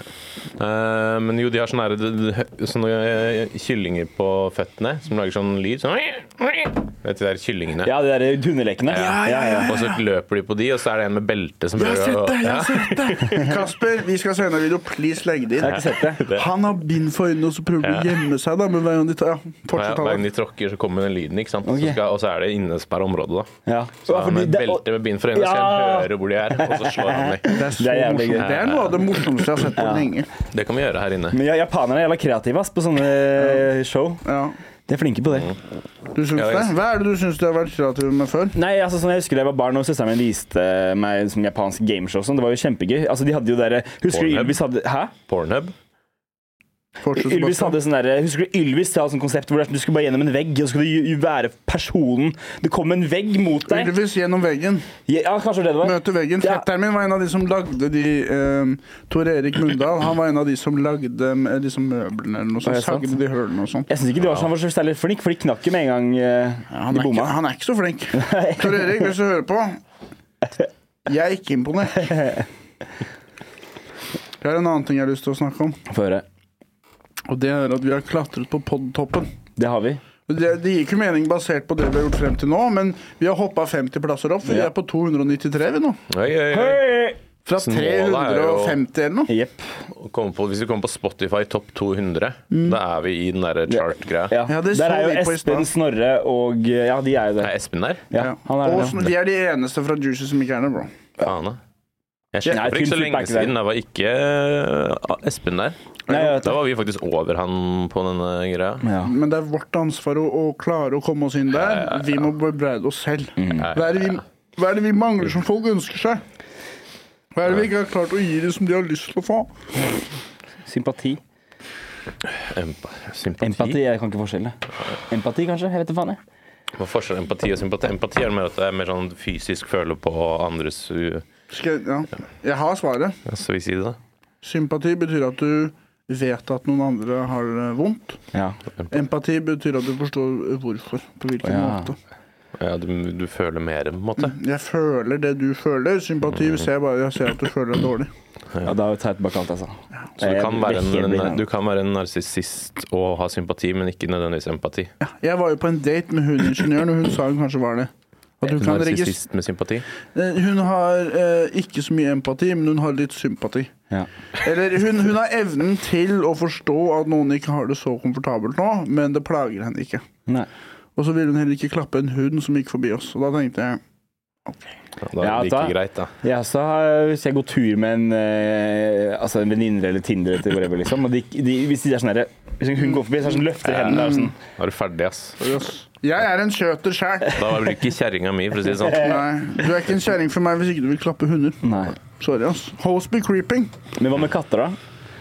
S3: Eh, men jo, de har sånne, her- d- d- sånne eh, kyllinger på føttene som lager sånn lyd. Sånn Vet du, de der kyllingene.
S4: Ja, de der hundelekene. Ja, ja.
S3: Og så løper de på de, og så er det en med belte som
S1: Jeg har sett
S3: å-
S1: det! jeg
S3: Ja.
S1: har sett det Kasper, vi skal sende en video. Please, legg det
S4: Jeg har
S1: inn.
S4: ikke sett det.
S1: Han har bind for øynene, og så prøver han å
S3: Ja.
S1: gjemme seg. da Men hver gang de tar, ja,
S3: Hver
S1: fortsett
S3: hver gang
S1: Allan.
S3: de tråkker, så kommer den lyden, ikke sant?
S4: Ok.
S3: Så skal, og så er det innesperra område, da.
S4: Ja. Ja,
S3: Så har han
S4: fordi
S3: et
S4: det- og-
S3: belte med bind for øynene, så skal
S4: Ja.
S3: han høre hvor de er, og så slår han dem.
S1: Det er, så
S4: Det er jævlig
S1: morsomt.
S4: gøy.
S1: det er noe av det morsomste jeg har sett på lenge.
S3: Det kan vi gjøre her inne.
S4: Men ja, japanere er jævla kreative ass, på sånne show.
S1: Ja.
S4: De er flinke på det.
S1: Du syns
S3: Ja, jeg-
S1: det? Hva er det du syns du har vært kreativ med før?
S4: Nei, altså sånn Jeg husker da jeg var barn og søsteren min viste meg sånn japansk gameshow. og Sånn. Det var jo kjempegøy. Altså, de hadde jo der, Husker du
S3: Pornhub.
S4: Ylvis hadde Hæ?
S3: Pornhub.
S1: Fortsett,
S4: Ylvis
S1: Sebastian.
S4: hadde sånn der, Husker du Ylvis hadde sånn konsept hvor det er sånn, du skulle bare gjennom en vegg, og så skulle du ju- ju være personen Det kom en vegg mot deg.
S1: Ylvis gjennom veggen.
S4: Ja, kanskje det det var.
S1: Møte veggen.
S4: Ja.
S1: Fetteren min var en av de som lagde de eh, Tor Erik Mundal. Han var en av de som lagde eh, disse møblene eller noe
S4: Er
S1: sånt.
S4: det sant?
S1: Sagde de hølene og sånn.
S4: Jeg syns ikke de var sånn, han var så særlig flink, for de knakk jo med en gang eh,
S1: Han,
S4: de
S1: er ikke-
S4: bomma.
S1: han er ikke så flink. Tor Erik, hvis du hører på Jeg er ikke imponert. Det er en annen ting jeg har lyst til å snakke om.
S4: Få høre.
S1: Og det er at vi har klatret på podtoppen.
S4: Det har vi.
S1: Det, det gir ikke mening basert på det vi har gjort frem til nå, men vi har hoppa 50 plasser opp. for Vi
S4: Ja.
S1: er på 293 vi nå.
S3: Oi, oi, oi.
S1: Fra
S3: Så målet er jo-
S1: 350 eller noe.
S4: Jepp.
S3: Og kommer på, hvis vi kommer på Spotify topp 200, da er vi i den der chart-greia.
S4: Ja.
S1: Ja, det så
S4: Der er jo
S1: vi på i
S4: Espen,
S1: stad.
S4: Snorre og eh, Ja, de er jo
S3: Er
S4: der.
S3: Espen der?
S4: Ja, han er
S1: og
S4: der.
S1: sn- vi er de eneste fra Juicy som ikke er der, bro.
S3: Faen, da. Jeg
S4: Nei,
S3: slipper ikke så
S4: Phil Philip er
S3: lenge
S4: ikke der.
S3: siden. Da var ikke eh, Espen der.
S4: Nei, jeg vet
S3: Da
S4: det.
S3: var vi faktisk over han på denne greia.
S4: Ja.
S1: Men det er vårt ansvar å, å klare å komme oss inn der. Vi må bebreide oss selv.
S4: Mm.
S1: Hva er, det vi, hva er det vi mangler som folk ønsker seg? Hva er det vi ikke har klart å gi dem som de har lyst til å få?
S4: Sympati.
S3: Empa sympati.
S4: Empati, jeg kan ikke forskjellen. Empati, kanskje? Jeg vet da faen. jeg.
S3: Hva er forskjellen på empati og sympati? Empati er mer at det er mer sånn fysisk føle på andres u-
S1: Skal jeg, ja. jeg har svaret.
S3: Ja, Skal vi si det, da?
S1: Sympati betyr at du vet at noen andre har det vondt.
S4: Ja.
S1: Empati betyr at du forstår hvorfor. På hvilken
S4: Ja.
S1: måte.
S3: Ja, du, du føler mer, på en måte.
S1: Jeg føler det du føler. Sympati ser jeg bare jeg ser at du føler deg dårlig.
S4: ja, da tar jeg tilbake alt, altså.
S3: Så du kan være en, eh,
S4: Virkelig.
S3: du kan være en narsissist og ha sympati, men ikke nødvendigvis empati.
S1: Jeg var jo på en date med hun ingeniøren, og hun sa hun kanskje var det. At hun, kan regis-
S3: Narsissist med sympati.
S1: Eh, hun har eh, ikke så mye empati, men hun har litt sympati.
S4: Ja.
S1: Eller hun, hun har evnen til å forstå at noen ikke har det så komfortabelt nå, men det plager henne ikke.
S4: Nei.
S1: Og så ville hun heller ikke klappe en hund som gikk forbi oss. Og da tenkte jeg
S3: Ja, da er
S4: Ja,
S3: det like
S4: da-
S3: greit, da.
S4: Ja, så har- hvis jeg går tur med en, eh, altså en venninne eller Tinder eller whatever, liksom, og de, de, hvis de er sånn der, hvis hun går forbi, så er det sånn, løfter hendene og er sånn
S3: Da er du ferdig, ass.
S1: «Jøss, Jeg er en kjøter sjæl.
S3: Da blir det ikke kjerringa mi, for å si det sånn.
S1: Nei, du er ikke en kjerring for meg hvis ikke du vil klappe hunder.
S4: Nei.
S1: Sorry, ass. Host be creeping.
S4: Men hva med katter, da?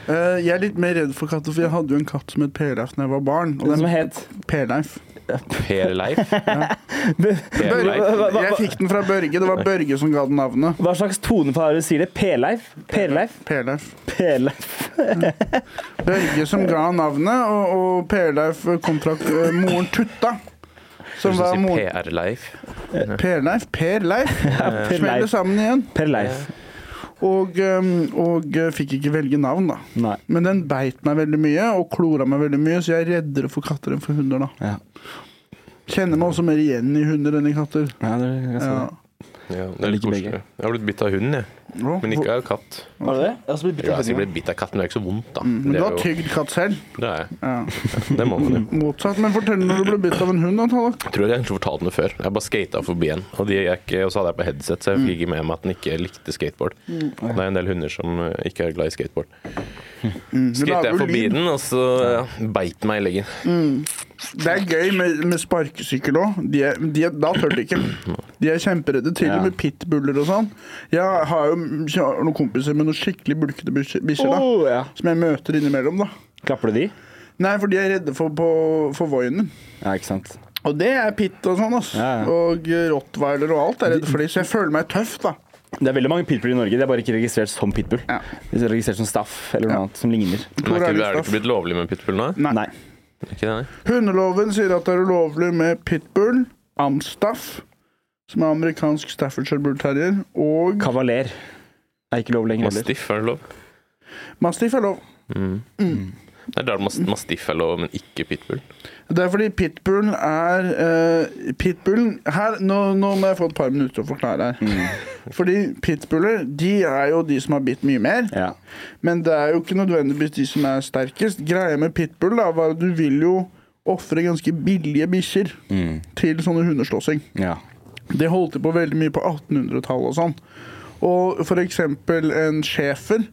S1: Eh, jeg er litt mer redd for katter, for jeg hadde jo en katt som het Perleif da jeg var barn. Og
S4: Den
S1: den
S4: som het
S1: Perleif.
S3: Per Leif. Per Leif.
S4: Hva- hva-
S1: Jeg fikk den fra Børge. Det var Børge som ga den navnet.
S4: Hva slags tonefare du sier det? P-Leif? P-Leif?
S1: Perleif.
S4: P-Leif.
S1: Børge som ga han navnet, og, og Perleif kom fra eh, moren Tutta.
S3: Du
S1: Som
S3: skal
S1: var
S3: si
S1: moren
S3: PR Leif.
S1: Perleif. Perleif. Smeller sammen igjen.
S4: Per-Leif.
S1: Og, eh, og eh, fikk ikke velge navn, da.
S4: Nei.
S1: Men den beit meg veldig mye og klora meg veldig mye, så jeg er reddere for katter enn for hunder, da.
S4: Ja.
S1: Kjenner meg også mer igjen i hunder enn i katter.
S4: Ja, det er ganske
S1: Ja.
S4: det.
S3: Ja, det er litt
S4: liker begge.
S3: koselig. Jeg har blitt bitt av hund, jeg.
S1: Å,
S3: Men ikke av katt.
S4: Var det det? Jeg har også blitt bitt
S3: Jo,
S4: av
S3: jeg sier
S4: hunden.
S3: blitt bitt av katt, men det er ikke så vondt, da.
S1: Men
S3: Det
S1: du
S3: er
S1: har
S3: jo-
S1: tygd katt selv?
S3: det er jeg.
S1: Ja.
S3: Det må man jo.
S1: Motsatt. Men fortell når du ble bitt av en hund, da, Tallak.
S3: Jeg tror jeg egentlig fortalte den det før. Jeg bare skata forbi en, og, de gikk, og så hadde jeg på headset, så jeg fikk ikke med meg at den ikke likte skateboard. Det er en del hunder som eh, ikke er glad i skateboard. Skata
S1: lager
S3: jeg
S1: jo
S3: forbi
S1: lyd.
S3: den, og så ja, beit den meg i leggen.
S1: Det er gøy med, med sparkesykkel òg. De er- de er- da tør de ikke. De er kjemperedde. Til og
S4: Ja.
S1: med pitbuller og sånn. Jeg har jo jeg har noen kompiser med noen skikkelig bulkete bikkjer, bikkjer, da.
S4: Åh, ja.
S1: Som jeg møter innimellom, da.
S4: Klapper du de?
S1: Nei, for de er redde for, på, for voinen.
S4: Ja, ikke sant.
S1: Og det er pitt og sånn, ass.
S4: Ja, ja.
S1: Og eh, rottweiler og alt er redde for de, så jeg føler meg tøff, da.
S4: Det er veldig mange pitbull i Norge. Det er bare ikke registrert som pitbull.
S1: Ja.
S4: Det er registrert som staff eller noe
S1: Ja.
S4: annet som ligner.
S3: Men er, ikke, er det
S1: Rarlig
S3: ikke
S1: stoff.
S3: blitt lovlig med pitbull nå?
S1: Nei.
S4: Nei.
S3: Ikke det, nei?
S1: Hundeloven sier at det er ulovlig med pitbull, amstaff, som er amerikansk Staffordshire Bull Terrier, og
S4: Kavaler er ikke lov lenger heller.
S3: Mastiff, Mm. er det lov?
S1: mastiff er lov.
S4: Mm.
S3: Det er da mas- mastiff er lov, men ikke pitbull.
S1: Det er fordi pitbullen er eh, Pitbullen her, nå, nå må jeg få et par minutter til å forklare her. Fordi pitbuller de er jo de som har bitt mye mer,
S4: Ja.
S1: men det er jo ikke nødvendigvis de som er sterkest. Greia med pitbull da, var at du vil jo ofre ganske billige bikkjer til sånne hundeslåssing.
S4: ja.
S1: Det holdt de på veldig mye på 1800-tallet og sånn. Og for eksempel en schæfer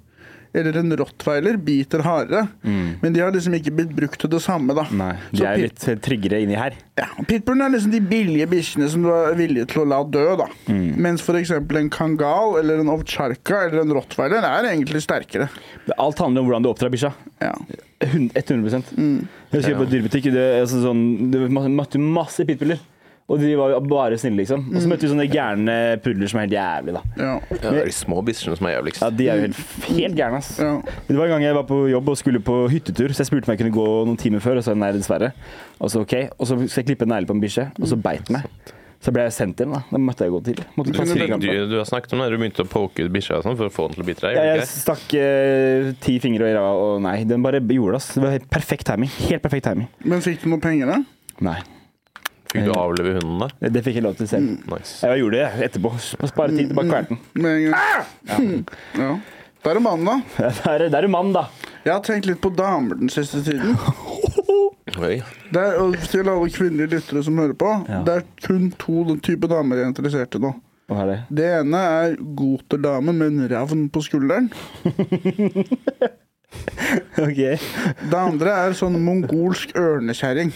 S1: eller en rottweiler biter hardere, men de har liksom ikke blitt brukt til det samme, da.
S4: Mm. Nei.
S1: Så
S4: De er
S1: pit-
S4: litt tryggere inni her.
S1: ja, Pitbullen er liksom de billige bikkjene som du er villig til å la dø. da.
S4: Mm.
S1: Mens f.eks. en kangal eller en ovtsjarka eller en rottweiler er egentlig sterkere.
S4: Alt handler om hvordan du oppdrar bikkja.
S1: Ja.
S4: Hun- 100 Jeg husker på dyrebutikk det, altså sånn, det var masse- møtte masse pitbuller. Og de var jo bare snille, liksom. Og så møtte vi sånne gærne pudler som er helt jævlige, da.
S1: ja,
S3: Ja, det er de små bikkjene som er jævligst.
S4: Ja, de er jo helt, helt gærne, ass.
S1: ja.
S4: Det var en gang jeg var på jobb og skulle på hyttetur, så jeg spurte om jeg kunne gå noen timer før, og så nei, dessverre. Og så ok, og så skal jeg klippe en negle på en bikkje, og så beit den meg. Så ble jeg sendt hjem, da. Da måtte jeg gå til. Måtte
S3: Du,
S4: kaste den i
S3: du,
S4: kampen.
S3: du har snakket om det, du begynte å poke bikkja og sånn for å få den til å bite deg.
S4: Ja,
S3: gjorde du
S4: jeg
S3: ikke det?
S4: stakk eh, ti fingre og øra, og nei, den bare gjorde det, ass. Det var helt perfekt timing. Helt perfekt timing.
S1: Men fikk du noen penger, da?
S4: Nei,
S3: Fikk du avleve hunden da?
S4: det fikk jeg lov til selv.
S3: Nice.
S4: Jeg gjorde det etterpå. Spare tid til bare kverten.
S1: Med en gang.
S4: Ah!
S1: Ja. Da er det mannen, da.
S4: Det er, det er en mann, da.
S1: Jeg har tenkt litt på damer den siste tiden.
S3: Oi.
S1: Det er, og til alle kvinnelige lyttere som hører på,
S4: Ja.
S1: det er kun to typer damer jeg er interessert i nå.
S4: Hva er det?
S1: Det ene er goterdame med en ravn på skulderen.
S4: Ok.
S1: Det andre er sånn mongolsk ørnekjerring.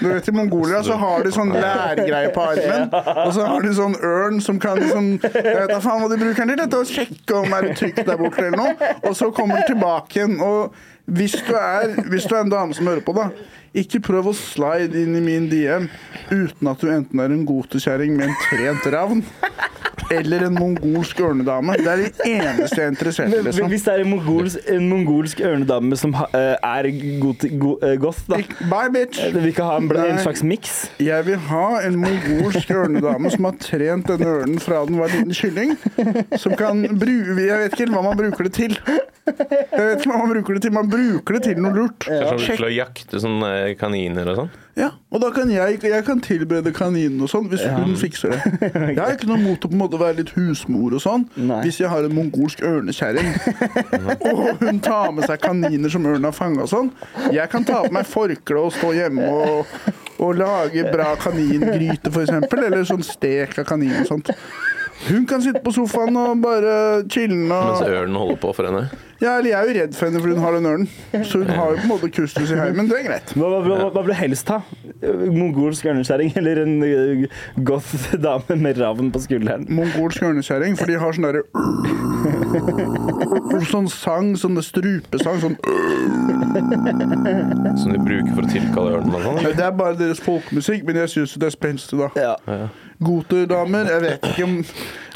S1: Du vet, I Mongolia så har de sånn lærgreie på armen, og så har de sånn ørn som kan liksom Jeg vet da faen hva de bruker den til, dette, å sjekke om er det trygt der borte eller noe, og så kommer de tilbake igjen. Og hvis du er, hvis du er en dame som hører på, da, ikke prøv å slide inn i min DM uten at du enten er en gotekjerring med en trent ravn. Eller en mongolsk ørnedame. Det er det eneste jeg er interessert i.
S4: Men, men
S1: liksom.
S4: hvis det er en mongolsk, en mongolsk ørnedame som ha, eh, er got, go, eh, goth, da
S1: Ik- Bye, bitch!
S4: Vi kan ha en, bla- en
S1: Nei.
S4: slags miks?
S1: Jeg vil ha en mongolsk ørnedame som har trent denne ørnen fra den var en liten kylling. Som kan bruke Jeg vet ikke helt hva man bruker det til. Jeg vet ikke hva Man bruker det til Man bruker det til noe lurt.
S3: Kanskje
S1: Sjekk.
S3: sånn til å jakte sånne kaniner og sånn?
S1: Ja, og da kan jeg, jeg kan tilberede kaninen og sånn, hvis hun fikser det. Jeg har ikke noe mot å på en måte være litt husmor og sånn,
S4: Nei.
S1: hvis jeg har en mongolsk ørnekjerring. Og hun tar med seg kaniner som ørnen har fanga og sånn. Jeg kan ta på meg forkle og stå hjemme og, og lage bra kaningryte, f.eks. Eller sånn stek av kanin og sånt. Hun kan sitte på sofaen og bare chille.
S3: Mens
S1: Og...
S3: ørnen holder på for henne?
S1: Ja, eller jeg er jo redd for henne fordi hun har den ørnen. Så hun har jo på en måte kustus i heimen. Det er greit.
S4: Hva, hva, hva, hva vil du helst ha? Mongolsk ørneskjæring eller en eh, goth dame med ravn på skulderen?
S1: mongolsk ørnekjerring, for de har sånn derre Sånn sang, sånn strupesang. Sånn
S3: Som de bruker for å tilkalle ørnen og sånn?
S1: Det er bare deres folkemusikk, men jeg syns det er spenstig, da.
S4: Ja.
S1: Goterdamer, jeg vet ikke om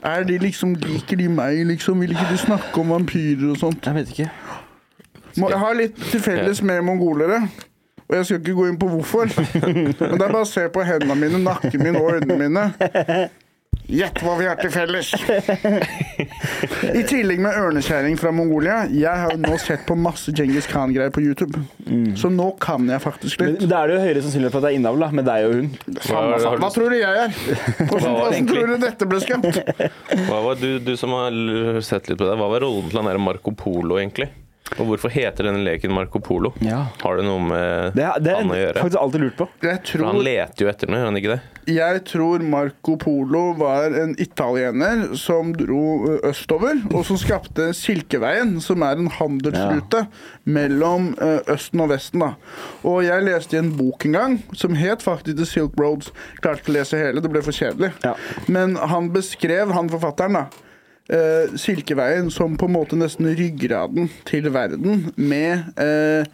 S1: Er de liksom Liker de meg, liksom? Vil ikke de snakke om vampyrer og sånn? sånt?
S4: Jeg vet ikke.
S1: Må- Jeg har litt til felles med mongolere. Og jeg skal ikke gå inn på hvorfor. Men det er bare å se på hendene mine, nakken min og øynene mine. Gjett hva vi har til felles! I tillegg med ørnekjerring fra Mongolia. Jeg har jo nå sett på masse Djengis Khan-greier på YouTube. Så nå kan jeg faktisk
S4: Men,
S1: litt.
S4: da er det jo høyere sannsynlighet for at det er innavl, da, men det er jo hun.
S1: Samme faen. Hva tror du jeg er? Hvordan, hvordan tror du dette ble skapt?
S3: Hva var, du, du som har l- sett litt på det, hva var rollen til han der Marco Polo, egentlig? Og hvorfor heter denne leken Marco Polo?
S4: Ja.
S3: Har det noe med
S4: Det, er- det
S3: han å
S4: er
S3: gjøre?
S4: faktisk alltid lurt på.
S1: Jeg
S3: For han
S1: tror,
S3: leter jo etter noe, gjør han ikke det?
S1: jeg tror Marco Polo var en italiener som dro ø, østover, og som skapte Silkeveien, som er en handelsrute mellom ø, Østen og Vesten. da. Og jeg leste i en bok en gang som het faktisk The Silk Roads. Klarte ikke å lese hele, det ble for kjedelig.
S4: Ja.
S1: Men han beskrev, han forfatteren, da, eh, Silkeveien som på en måte nesten ryggraden til verden med eh,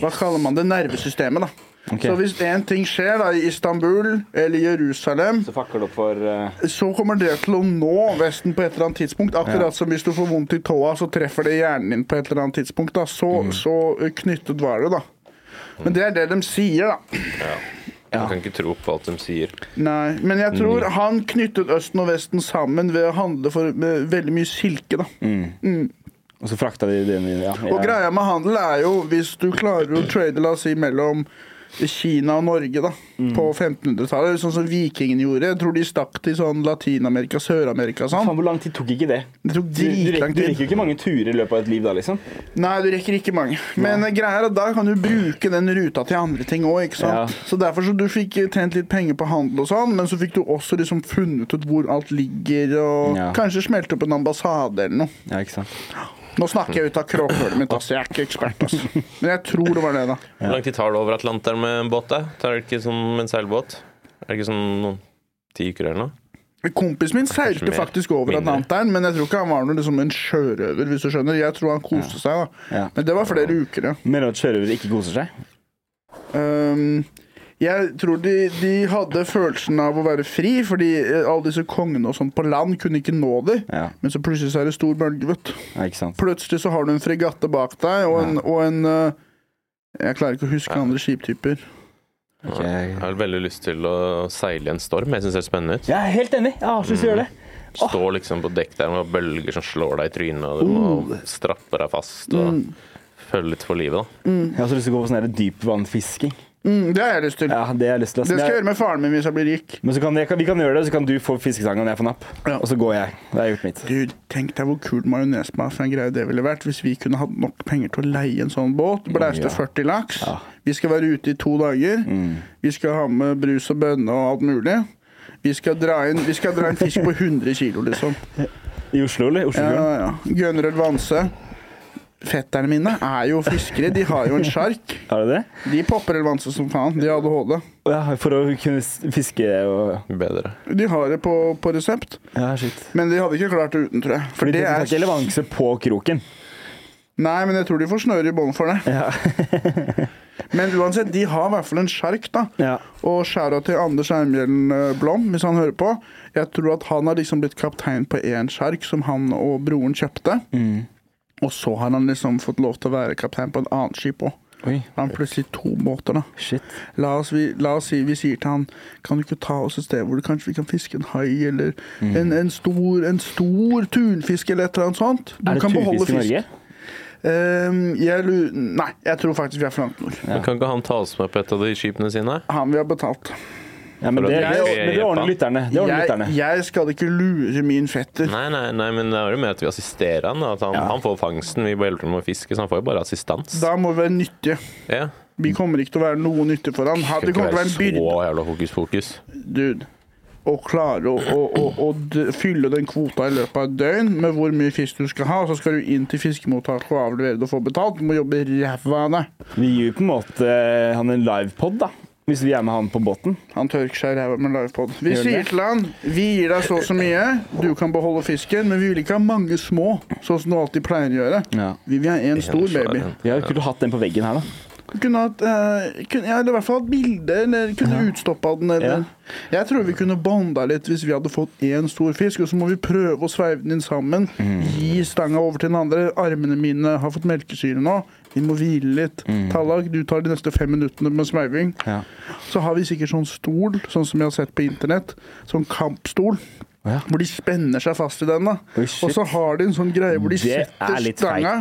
S1: Hva kaller man det? Nervesystemet, da.
S4: Ok.
S1: Så hvis én ting skjer da, i Istanbul eller Jerusalem,
S4: Så fakker du opp for eh,
S1: så kommer det til å nå Vesten på et eller annet tidspunkt. Akkurat som hvis du får vondt i tåa, så treffer det hjernen din på et eller annet tidspunkt. Da. Så, så eh, knyttet var det, da. Men det er det de sier, da.
S3: Jeg kan ikke tro på alt de sier.
S1: Nei, men jeg tror han knyttet Østen og Vesten sammen ved å handle for med veldig mye silke, da.
S4: Og så frakta de den videre. Ja.
S1: Og greia med handel er jo hvis du klarer å trade, la oss si, mellom Kina og Norge da,
S4: Mm.
S1: på 1500-tallet, sånn som vikingene gjorde. Jeg tror de stakk til sånn Latin-Amerika, Sør-Amerika og sånn.
S4: Faen, hvor lang tid tok ikke det?
S1: Det tok
S4: Du, du,
S1: dritlang
S4: rekker, du
S1: tid.
S4: rekker jo ikke mange turer i løpet av et liv da, liksom.
S1: Nei, du rekker ikke mange. Men greia er at da kan du bruke den ruta til andre ting òg, ikke sant.
S4: Ja.
S1: Så derfor så du fikk tjent litt penger på handel og sånn, men så fikk du også liksom funnet ut hvor alt ligger, og
S4: Ja.
S1: kanskje smelte opp en ambassade eller noe.
S4: Ja, ikke sant.
S1: Nå snakker jeg ut av kråkhølet mitt, altså. Jeg er ikke ekspert, altså. Men jeg tror det var det, da.
S3: Hvor lang tid tar det over Atlanteren med en båt? da? Tar det ikke som en seilbåt? Er det ikke sånn noen ti uker eller noe?
S1: Kompisen min seilte
S3: mer,
S1: faktisk over
S3: mindre.
S1: Atlanteren, men jeg tror ikke han var noe liksom en sjørøver, hvis du skjønner. Jeg tror han koste seg, da.
S4: Ja.
S1: Men det var flere uker, ja.
S4: Mener du at sjørøvere ikke koser seg?
S1: Ehm, jeg tror de, de hadde følelsen av å være fri, fordi eh, alle disse kongene og sånn på land kunne ikke nå dem.
S4: Ja,
S1: Men så plutselig så er det stor bølge, vet du.
S4: ja ikke sant.
S1: Plutselig så har du en fregatte bak deg, og en, og en eh, Jeg klarer ikke å huske andre skiptyper.
S4: Ok.
S3: Jeg har veldig lyst til å seile i en storm. Jeg syns det ser spennende ut.
S4: Jeg er helt enig. Jeg har så lyst til å gjøre det.
S3: Stå liksom på dekk der med bølger som slår deg i trynet, og du
S4: Oh.
S3: må strappe deg fast og
S4: Mm.
S3: følge litt for livet, da.
S4: Jeg har så lyst til å gå på sånn her dypvannfisking.
S1: Mm, det har jeg lyst til.
S4: Ja, det har jeg lyst
S1: Det
S4: til. ass. Men
S1: skal jeg
S4: jeg-
S1: gjøre med faren min hvis jeg blir rik.
S4: Men så kan, jeg, kan- vi kan gjøre det, så kan du få fiskesangen og jeg får napp.
S1: Ja.
S4: Og så går jeg. Da har jeg gjort mitt.
S1: Gud, tenk deg hvor kul majonesmafia-greie det ville vært hvis vi kunne hatt nok penger til å leie en sånn båt. Blæste
S4: Ja.
S1: 40 laks.
S4: Ja. Mm.
S1: Vi skal være ute i to dager. Vi skal ha med brus og bønne og alt mulig. Vi skal dra inn, vi skal dra inn fisk på 100 kilo, liksom.
S4: I Oslo, eller? Oslo
S1: Ja, ja, ja. Gunrød Vanse. Fetterne mine er jo fiskere. De har jo en sjark.
S4: Er det det?
S1: De popper El Vanse som faen. De har ADHD.
S4: Ja, for å kunne s- fiske og
S3: Bedre.
S1: De har det på, på resept,
S4: Ja, shit.
S1: men de hadde ikke klart det uten, tror jeg.
S4: Fordi det er
S1: er-
S4: ikke elevanse på kroken.
S1: Nei, men jeg tror de får snøre i bånd for det.
S4: Ja.
S1: Men uansett, de har i hvert fall en sjark, da.
S4: Ja.
S1: Og skjæra til Anders Eimjellen eh, Blom, hvis han hører på. Jeg tror at han har liksom blitt kaptein på én sjark som han og broren kjøpte.
S4: Mm.
S1: Og så har han liksom fått lov til å være kaptein på et annet skip òg.
S4: Oi,
S1: Han har plutselig to båter, da.
S4: shit.
S1: La oss, vi, la oss si vi sier til han Kan du ikke ta oss et sted hvor du kanskje vi kan fiske en hai eller
S4: Mm.
S1: en, en, stor, en stor tunfisk eller et eller annet sånt? Du
S4: Er det
S1: kan beholde
S4: turfisk i
S1: fisk.
S4: Norge?
S1: Ehm, jeg lu nei, jeg tror faktisk vi er for langt nord.
S3: Men kan ikke han ta oss med på et av de skipene sine?
S1: Han vi har betalt.
S4: Ja, men
S3: For
S4: det,
S3: at
S4: det,
S3: jeg skal
S4: men det ordner
S3: hjelpe.
S4: lytterne. Det ordner
S1: Jeg,
S4: lytterne.
S1: jeg skal ikke lure min fetter.
S3: Nei, nei, nei, men da er det med at vi assisterer han. da. At han, han får fangsten, vi hjelper ham å fiske, så han får jo bare assistans.
S1: Da må vi være nyttige.
S3: Ja.
S1: Vi kommer ikke til å være noe nyttig for han. Ha-
S3: Skal
S1: Det
S3: ikke
S1: kommer til å være en byrde.
S3: så jævla hokus pokus.
S1: Dude. Å klare å, å, å, å d fylle den kvota i løpet av et døgn med hvor mye fisk du skal ha, og så skal du inn til fiskemottaket og avlevere det og få betalt. Du må jobbe ræva av deg.
S4: Vi gir jo på en måte eh, han en livepod, da. Hvis vi er med han på båten.
S1: Han tørker seg i ræva med livepod. Vi
S4: Gjør
S1: sier
S4: det?
S1: til han vi gir deg så og så mye, du kan beholde fisken, men vi vil ikke ha mange små, sånn som du alltid pleier å gjøre.
S4: Ja.
S1: Vi vil ha én stor baby.
S4: Vi har jo ikke hatt den på veggen her, da.
S1: Du Kunne hatt eh, kunne, ja, eller i hvert fall hatt bilde, eller kunne utstoppa den, eller Jeg tror vi kunne bonda litt hvis vi hadde fått én stor fisk, og så må vi prøve å sveive den inn sammen.
S4: Mm.
S1: Gi stanga over til den andre. Armene mine har fått melkesyre nå. Vi må hvile litt. Tallak, du tar de neste fem minuttene med sveiving.
S4: Mm. Ja.
S1: Så har vi sikkert sånn stol, sånn som jeg har sett på internett. Sånn kampstol.
S4: Ja.
S1: Hvor de spenner seg fast i den. da
S4: Oi, shit.
S1: Og så har de en sånn greie hvor de
S4: Det er
S1: setter
S4: litt
S1: stanga.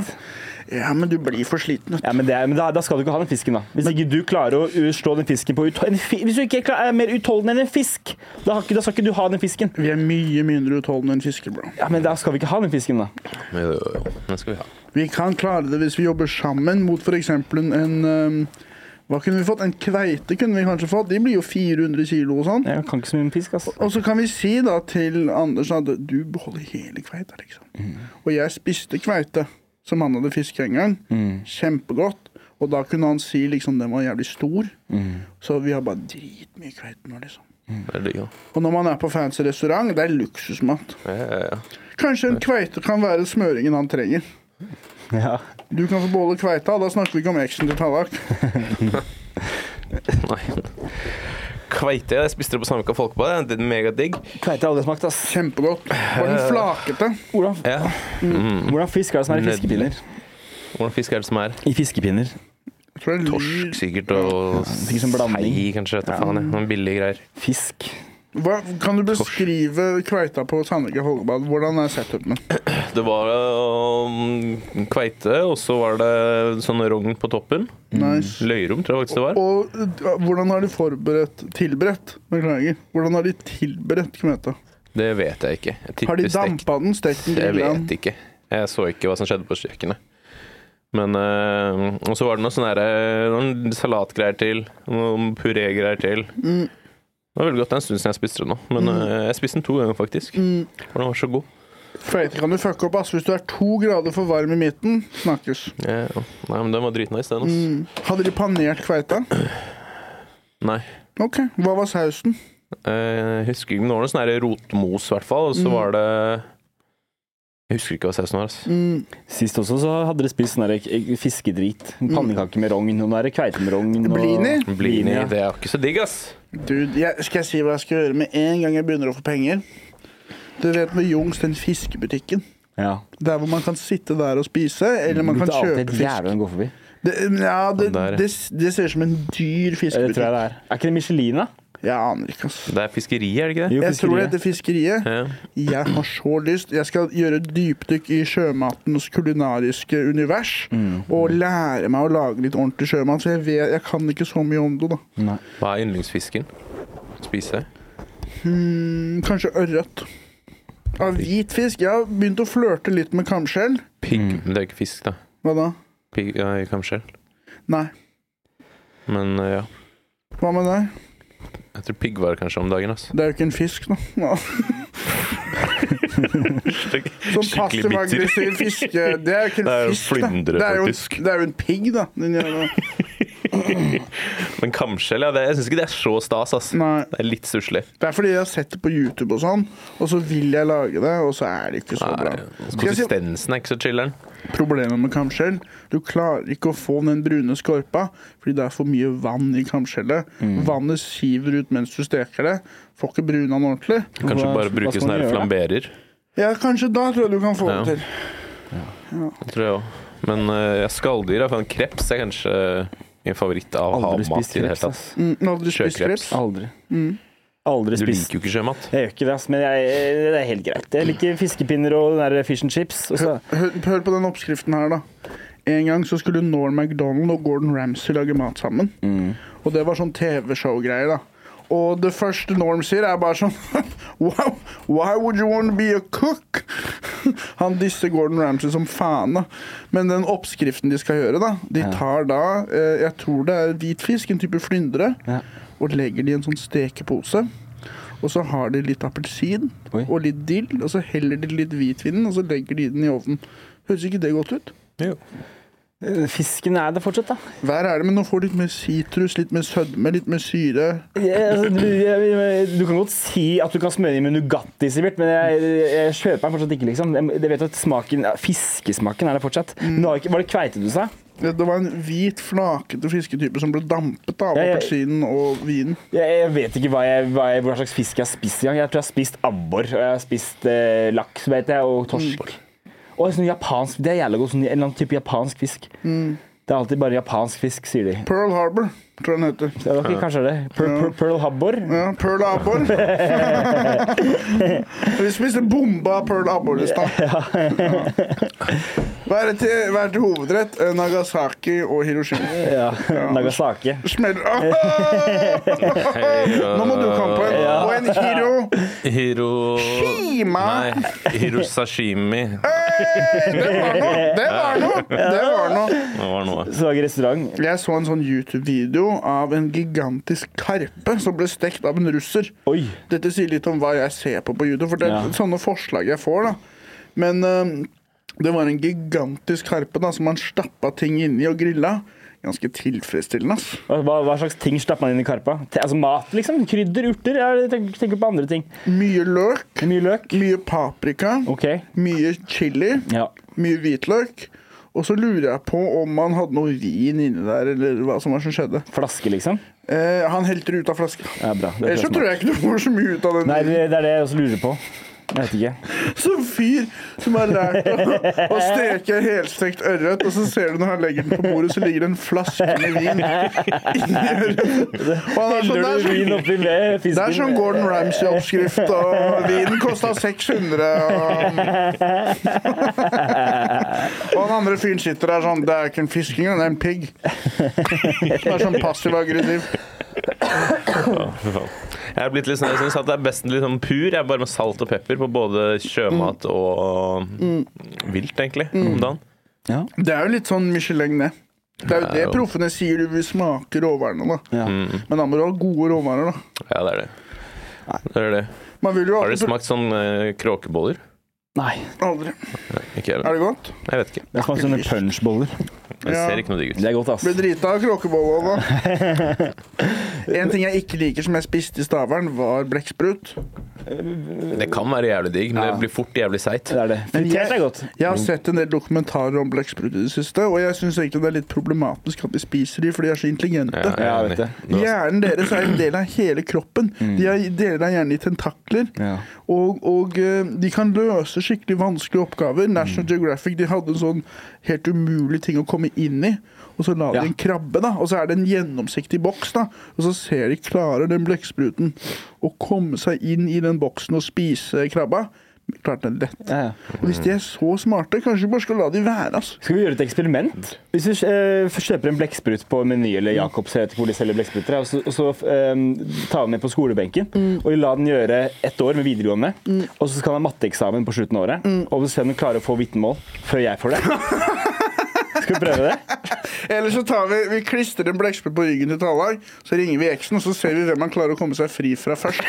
S1: Ja, men du blir for sliten. vet du.
S4: Ja, men, det er, men da, da skal du ikke ha den fisken, da. Hvis ikke du klarer å uh, slå den fisken på ut, en fi, Hvis du ikke er, klar, er mer utholdende enn en fisk, da, har ikke, da skal ikke du ha den fisken.
S1: Vi er mye mindre utholdende enn fisker, bro.
S4: Ja, men da skal vi ikke ha den fisken, da.
S3: Jo, jo, jo. Den skal vi ha.
S1: Vi kan klare det hvis vi jobber sammen mot f.eks. en ehm, Hva kunne vi fått? En kveite kunne vi kanskje fått. De blir jo 400 kilo og sånn.
S4: Jeg kan ikke så mye med fisk, ass.
S1: Og så kan vi si da til Anders at du beholder hele kveita, liksom. Og jeg spiste kveite som han hadde fiska en gang. Kjempegodt. Og da kunne han si liksom den var jævlig stor. Så vi har bare dritmye kveite nå, liksom.
S3: Det er digg, da.
S1: Og når man er på fancy restaurant, det er luksusmat.
S3: Ja, ja, ja.
S1: Kanskje en kveite kan være smøringen han trenger.
S4: Ja.
S1: Du kan få beholde kveita, da snakker vi ikke om eksen til Tallak.
S3: Nei. Kveite, jeg spiste det på Samvika Folkebad. Det er megadigg.
S4: Kveite har aldri smakt, ass.
S1: Kjempegodt. Var den flakete?
S4: Hvordan,
S3: Ja.
S4: hvordan fisk er det som er i fiskepinner?
S3: Hvordan fisk er det som er?
S4: I fiskepinner.
S1: Jeg tror det er
S3: Torsk,
S1: lyr.
S3: sikkert, og
S4: sikkert som blanding.
S3: sei, kanskje. Vet du faen, jeg. Noen billige greier.
S4: Fisk.
S1: Hva, kan du beskrive kveita på Sandvika Folkebad? Hvordan er setupen?
S3: Det var um, kveite, og så var det sånn rogn på toppen.
S1: Nice.
S3: Løyrom, tror jeg faktisk det var.
S1: Og uh, hvordan har de forberedt Tilberedt, beklager. Hvordan har de tilberedt kveita?
S3: Det vet jeg ikke.
S1: Har de
S3: Jeg tipper stekt.
S1: dampa den, stekt den,
S3: Jeg
S1: grilla den?
S3: vet ikke. Jeg så ikke hva som skjedde på kjøkkenet. Men eh, Og så var det noe sånn derre- noen salatgreier til. Noen purégreier til.
S1: Mm,
S3: Det var veldig godt. Det er en stund siden jeg spiste det nå. Men eh, jeg spiste den to ganger, faktisk. For den var så god.
S1: mm. Kveite kan du fucke opp, ass. Hvis du er to grader for varm i midten, snakkes.
S3: Ja, ja. Nei, men den var dritnice, den.
S1: Mm.
S3: Altså.
S1: Hadde de panert kveita?
S3: Nei.
S1: OK. Hva var sausen?
S3: Eh, Jeg husker ikke, men det var noe sånn her rotmos, i hvert fall. Og så var det Jeg husker ikke hva sausen var. Altså.
S1: Mm.
S4: Sist også så hadde dere spist sånn der k- fiskedrit. Pannekaker med rogn, og noe der kveite med rogn. Og...
S1: Blini?
S3: Blini,
S4: ja.
S3: det er jo ikke så digg, ass.
S1: Dude, jeg, skal jeg si hva jeg skal gjøre med en gang jeg begynner å få penger? Du vet med Jungs, den fiskebutikken.
S4: Ja.
S1: Der hvor man kan sitte der og spise, eller man
S4: Det
S1: kan
S4: er alltid
S1: kjøpe
S4: et
S1: fisk.
S4: jævla å gå forbi.
S1: Det, mm, ja, det,
S3: Den der.
S1: det, det ser ut som en dyr
S4: Ja, Det tror jeg
S1: fiskebutikk.
S4: det er. Er ikke det Michelin, da?
S1: Jeg aner ikke, ass.
S3: Det er fiskeri, er det ikke det?
S4: Jo,
S1: Jeg tror det
S4: fiskeriet.
S1: heter Fiskeriet.
S3: Ja.
S1: Jeg har så lyst. Jeg skal gjøre et dypdykk i sjømatens kulinariske univers.
S4: Mm.
S1: Og lære meg å lage litt ordentlig sjømat, for jeg, vet, jeg kan ikke så mye om det. da.
S4: Nei.
S3: Hva er yndlingsfisken? Spise?
S1: Mm, Kanskje ørret. Av hvit fisk. Jeg har begynt å flørte litt med kamskjell.
S3: Pigg Men det er ikke fisk, da.
S1: Hva da?
S3: Pigg, nei, kamskjell.
S1: Nei.
S3: Men eh, ja.
S1: Hva med deg?
S3: Jeg tror piggvar kanskje om dagen. ass.
S1: Det er jo ikke en fisk, da. Ja. Sånn
S3: Skikkelig bitter.
S1: passiv-aggressiv fiske Det er jo ikke en
S3: Det er jo
S1: fisk, da.
S3: flyndre,
S1: det, er jo,
S3: faktisk.
S1: det er jo en pigg, da. Din jævla.
S3: Men kamskjell, ja. Det, jeg syns ikke det er så stas, ass.
S1: Nei.
S3: Det er litt stusslig.
S1: Det er fordi jeg har sett det på YouTube og sånn, og så vil jeg lage det, og så er det ikke så bra. Skal jeg si
S3: Konsistensen er ikke så chiller'n.
S1: Problemet med kamskjell Du klarer ikke å få den brune skorpa fordi det er for mye vann i kamskjellet. Vannet siver ut mens du steker det. Får ikke bruna den ordentlig.
S3: Kanskje
S4: Hva-
S3: bare
S4: hva
S3: bruke
S4: skal
S3: sånn
S4: man
S3: her
S4: gjøre?
S3: flamberer.
S1: Ja, kanskje da tror jeg du kan få
S3: Ja.
S1: det til.
S3: Det tror jeg også. Men uh, skalldyr, for en kreps er kanskje min favoritt av
S4: Aldri spist
S3: havmat i det hele
S4: kreps,
S3: tatt.
S4: ass.
S1: Mm, aldri spist
S3: Sjøkreps.
S1: kreps.
S4: Aldri. Aldri
S3: Du
S4: spist.
S3: liker jo ikke sjømat.
S4: Jeg gjør ikke det, ass, men jeg, det er helt greit. Jeg liker fiskepinner og den der fish and chips. Og så.
S1: Hør, hør på den oppskriften her, da. En gang så skulle Norm MacDonald og Gordon Ramsay lage mat sammen. Og det var sånn TV-show-greier, da. Og det første Norm sier, er bare sånn Wow, why would you want to be a cook? Han disser Gordon Ramsay som faen, da. Men den oppskriften de skal gjøre, da De tar da, eh, jeg tror det er hvitfisk, en type flyndre,
S4: Ja.
S1: og legger det i en sånn stekepose. Og så har de litt appelsin
S4: Oi.
S1: og litt dill, og så heller de litt hvitvin, og så legger de den i ovnen. Høres ikke det godt ut?
S4: Fisken er det fortsatt, da.
S1: Vær ærlig, men nå får du litt mer sitrus, litt mer sødme, litt mer syre.
S4: Jeg, altså, du, jeg, du kan godt si at du kan smøre inn med Nugatti, Sivert, men jeg, jeg kjøper den fortsatt ikke, liksom. Jeg, jeg vet at smaken, ja, Fiskesmaken er der fortsatt. Men det var, ikke, var det kveite du sa?
S1: Det det var en hvit, flakete fisketype som ble dampet av
S4: Ja, ja.
S1: appelsinen og vinen.
S4: Jeg, jeg vet ikke hva, jeg, hva, jeg, hva slags fisk jeg har spist engang. Jeg tror jeg har spist abbor, og jeg har spist eh, laks, vet jeg, og torsk. Og sånn japansk, Det er jævla godt. Sånn, en eller annen type japansk fisk. Det er alltid bare japansk fisk, sier de.
S1: Pearl Harbor, tror jeg den heter.
S4: Ja, dere kanskje det. Pearl, Pearl, Pearl Harbor.
S1: Ja, Pearl Harbor. Vi spiste bomba av Pearl Harbor i stad. Ja. Hva er det til, hva er det til hovedrett? Eh, Nagasaki og Hiroshima.
S4: Ja. Nagasaki.
S1: Smeller Nå må du komme på en,
S4: Ja.
S1: og en hero.
S3: Hiro
S1: Shima.
S3: Nei, Hiro Sashimi.
S1: Hey, det var noe! Det var noe! Det var noe.
S3: Det var noe.
S4: Så var det restaurant.
S1: Jeg så en sånn YouTube-video av en gigantisk karpe som ble stekt av en russer.
S4: Oi.
S1: Dette sier litt om hva jeg ser på på YouTube, for det er
S4: Ja.
S1: sånne forslag jeg får. da. Men øhm, det var en gigantisk karpe da, som man stappa ting inni og grilla. Ganske tilfredsstillende. ass.
S4: Hva, hva hva slags ting stapper man inn i karpa? Te- Altså Mat, liksom? Krydder, urter? Jeg tenker, tenker på andre ting.
S1: Mye løk,
S4: Mye løk?
S1: mye paprika,
S4: OK.
S1: mye chili,
S4: Ja.
S1: mye hvitløk. Og så lurer jeg på om man hadde noe vin inni der, eller hva som var som skjedde.
S4: Flaske, liksom?
S1: Eh, han helte det ut av flaska.
S4: Ja, bra. Det sånn.
S1: Ellers så tror jeg ikke du får så mye ut av den.
S4: Nei, det, det er det jeg også lurer på. Jeg vet ikke.
S1: Så en fyr som har lært å, å steke helstekt ørret, og så ser du når han legger den på bordet, så ligger det en flaske med vin inni ørreten. Og han er sånn, det,
S4: Heller
S1: er
S4: du vin
S1: sånn,
S4: oppi med fisken?
S1: det er sånn Gordon Ramsay-oppskrift, og vinen kosta 600, og Og han andre fyren sitter der sånn Det er ikke en fisk engang, det er en pigg. Det er sånn passiv-aggressiv.
S3: Jeg er blitt litt sånn, jeg syns det er best litt sånn pur. Jeg er bare med salt og pepper på både sjømat
S4: Mm.
S3: og vilt, egentlig. Om dagen.
S1: Det er jo litt sånn Michelin, det. Det er jo det proffene sier, du vil smake råvarene, da.
S4: Ja.
S1: Men da må du ha gode råvarer, da.
S3: Mm. Ja, det er det. Det er det.
S1: Man vil jo
S3: Har dere
S1: alltid
S3: smakt sånn eh, kråkeboller?
S4: Nei.
S1: Aldri.
S3: Ikke jeg.
S1: Er det godt?
S3: Jeg vet ikke.
S4: Det er som sånne punchboller.
S3: Det
S1: Ja.
S3: ser ikke noe digg ut.
S4: Det er godt, ass.
S1: Ble drita av kråkebolla da. En ting jeg ikke liker som jeg spiste i Stavern, var blekksprut.
S3: Det kan være jævlig digg, men
S4: Ja.
S3: det blir fort jævlig seigt.
S4: Det er det.
S1: Men jeg-
S4: Fritert er godt.
S1: Jeg har sett en del dokumentarer om blekksprut i det siste, og jeg syns egentlig det er litt problematisk at vi spiser de, for de er så intelligente.
S3: jeg er
S4: Ja, jeg
S3: enig.
S4: vet
S3: Nå-
S1: Hjernen deres er en del av hele kroppen. De er, deler av hjernen i tentakler.
S4: Mm. Ja.
S1: Og, og eh, de kan løse skikkelig vanskelige oppgaver.
S4: Mm.
S1: National Geographic de hadde en sånn helt umulig ting å komme inn i. Og så la de
S4: Ja.
S1: en krabbe, da. Og så er det en gjennomsiktig boks, da. Og så ser de klarer den blekkspruten å komme seg inn i den boksen og spise krabba. Klarte den lett.
S4: Ja, ja.
S1: Og hvis de er så smarte, kanskje vi bare skal la de være, altså.
S4: Skal vi gjøre et eksperiment? Mm. Hvis du eh, kjøper en blekksprut på Meny eller Jacobs, jeg vet ikke hvor de selger blekkspruter, og så, og så eh, ta den med på skolebenken og la den gjøre ett år med videregående, og så Mm. skal den ha matteeksamen på slutten av året, og så ser om den klarer å få vitnemål før jeg får det. Skal vi prøve det?
S1: Eller så tar vi, vi klistrer en blekkspill på ryggen til Talag, så ringer vi eksen, og så ser vi hvem han klarer å komme seg fri fra først.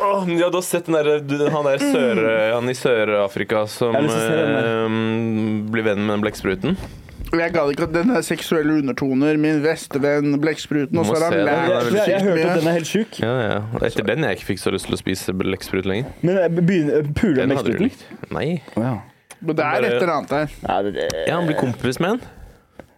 S3: Åh, ja, du har sett den der, du, han der sør, han i Sør-Afrika som
S4: Jeg har lyst til å se den der.
S3: eh, blir venn med den blekkspruten?
S1: Og Jeg gadd ikke at den der seksuelle undertoner, min bestevenn, blekkspruten, og
S3: Må
S1: så har
S3: se
S1: han
S3: den,
S1: lært
S3: den er
S4: Jeg,
S3: veldig
S4: jeg,
S1: sykt
S4: jeg hørte
S1: mye.
S4: at den er helt sjuk.
S3: Ja, ja. Etter den jeg ikke fikk så lyst til å spise blekksprut lenger.
S4: Men eh, begynner puler
S3: Den
S4: med
S3: hadde du
S4: ekspruten?
S3: likt. Nei.
S4: Wow.
S1: Men det er et eller annet der.
S4: Ja, det, det.
S3: Ja, han blir kompis med en.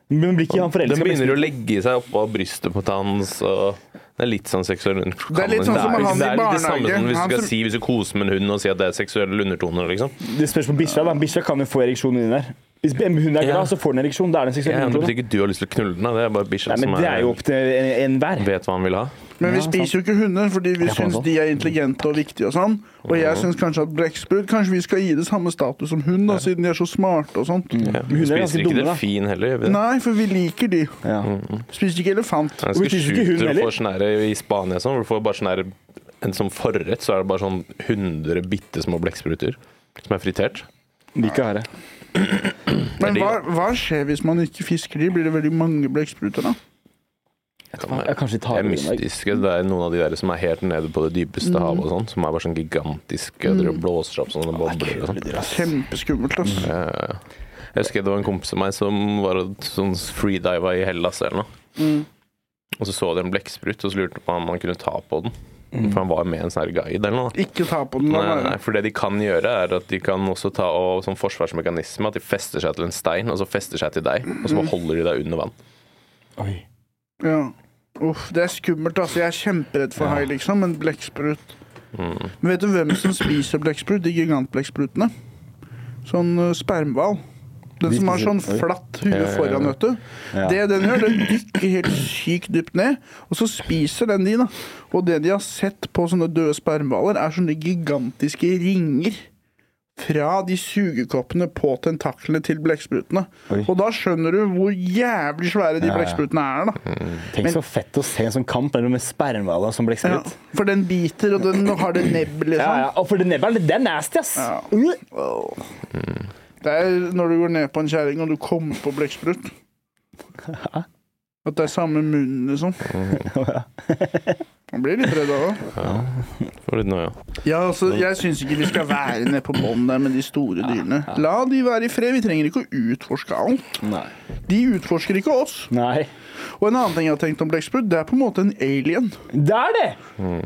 S4: Men blir ikke han
S3: Den
S4: forelska?
S3: begynner å legge seg oppå brystet på hans. Og det er litt sånn seksuell undertone.
S1: Det er litt sånn som
S3: Det er
S1: han i
S3: ikke- Det er litt
S1: barnehagen.
S3: det samme som hvis
S1: Han
S3: du
S1: som-
S3: skal si hvis du koser med en hund og si at det er seksuelle undertoner. liksom.
S4: Det spørs på bikkja. da. Bikkja kan jo få ereksjon inni der. Hvis hun er glad,
S3: Ja.
S4: så får den ereksjon. Da er det en seksuell
S3: Ja, men det
S4: undertone.
S3: betyr ikke du har lyst til å knulle den. da. Det er bare bikkja
S4: Nei,
S3: som
S4: men det er jo opp til en- enhver.
S3: vet hva han vil ha.
S1: Men vi
S4: Ja,
S1: spiser jo ikke hunder, fordi vi
S4: Ja, faen
S1: syns
S4: sant.
S1: de er intelligente og viktige og sånn. Og jeg syns kanskje at blekksprut Kanskje vi skal gi det samme status som hund, da, siden de er så smarte og sånt.
S3: Ja.
S4: hunder er
S3: Vi
S4: ganske
S3: spiser ikke
S4: dumme, da.
S3: delfin heller. gjør vi det?
S1: Nei, for vi liker de.
S4: Ja.
S3: Mm.
S1: Spiser ikke elefant.
S3: Jeg
S4: Hvorfor
S3: husker
S4: spiser ikke hund
S3: shooter
S4: heller?
S3: du får sånn her i Spania sånn, hvor du får bare sånn her en som forrett, så er det bare sånn 100 bitte små blekkspruter som er fritert.
S4: Like harde.
S1: Men
S3: de,
S1: hva, hva skjer hvis man ikke fisker de? Blir det veldig mange blekkspruter da?
S4: Jeg kanskje
S3: Det
S4: tar
S3: er mystiske. Det er noen av de der som er helt nede på det
S1: Mhm.
S3: dypeste havet og sånn, som er bare sånn gigantiske mm. og blåser opp sånne bobler og sånn.
S1: Kjempeskummelt, ass.
S3: Ja, ja, ja. Jeg husker det var en kompis av meg som var og sånn freediva i Hellas eller noe.
S1: Mm.
S3: Og så så de en blekksprut, og så lurte de på om han kunne ta på den.
S4: Mm.
S1: Mhm.
S3: For han var med en sånn her guide eller noe.
S1: Ikke ta på den.
S3: Nei,
S1: La
S3: nei,
S1: være.
S3: for det de kan gjøre, er at de kan også ta og, som forsvarsmekanisme at de fester seg til en stein, og så fester seg til deg, og
S1: Mhm.
S3: så bare holder de deg under vann.
S1: Ja. Uff, det er skummelt, altså. Jeg er kjemperedd for hai, liksom, men blekksprut
S4: Mm.
S1: Men vet du hvem som spiser blekksprut? De gigantblekksprutene. Sånn uh, spermhval. Den
S4: De
S1: som har
S4: spiser-
S1: sånn
S4: Oi.
S1: flatt hue
S3: Ja, ja, ja.
S1: foran, vet du.
S4: Ja.
S1: Det den gjør, den dykker helt sykt dypt ned, og så spiser den de, da. Og det de har sett på sånne døde spermhvaler, er sånne gigantiske ringer. Fra de sugekoppene på tentaklene til blekksprutene.
S4: Oi.
S1: Og da skjønner du hvor jævlig svære de
S4: Ja, ja.
S1: blekksprutene er, da.
S4: Tenk så fett å se en sånn kamp mellom spermhvaler som
S1: Ja,
S4: blekksprut.
S1: for den biter, og den har det nebb, liksom.
S4: Ja, ja. Og for det nebbelen, det er nasty, ass.
S1: Ja.
S4: Uh.
S1: Åh. Det er når du går ned på en kjerring og du kommer på blekksprut. At det er samme munn, liksom. Man blir litt redd av det.
S3: For litt nå, ja.
S1: Ja, altså, jeg syns ikke vi skal være nede på bånn der med de store dyrene. La de være i fred. Vi trenger ikke å utforske alt.
S4: Nei.
S1: De utforsker ikke oss.
S4: Nei.
S1: Og en annen ting jeg har tenkt om blekksprut, det er på en måte en alien.
S4: Det er det!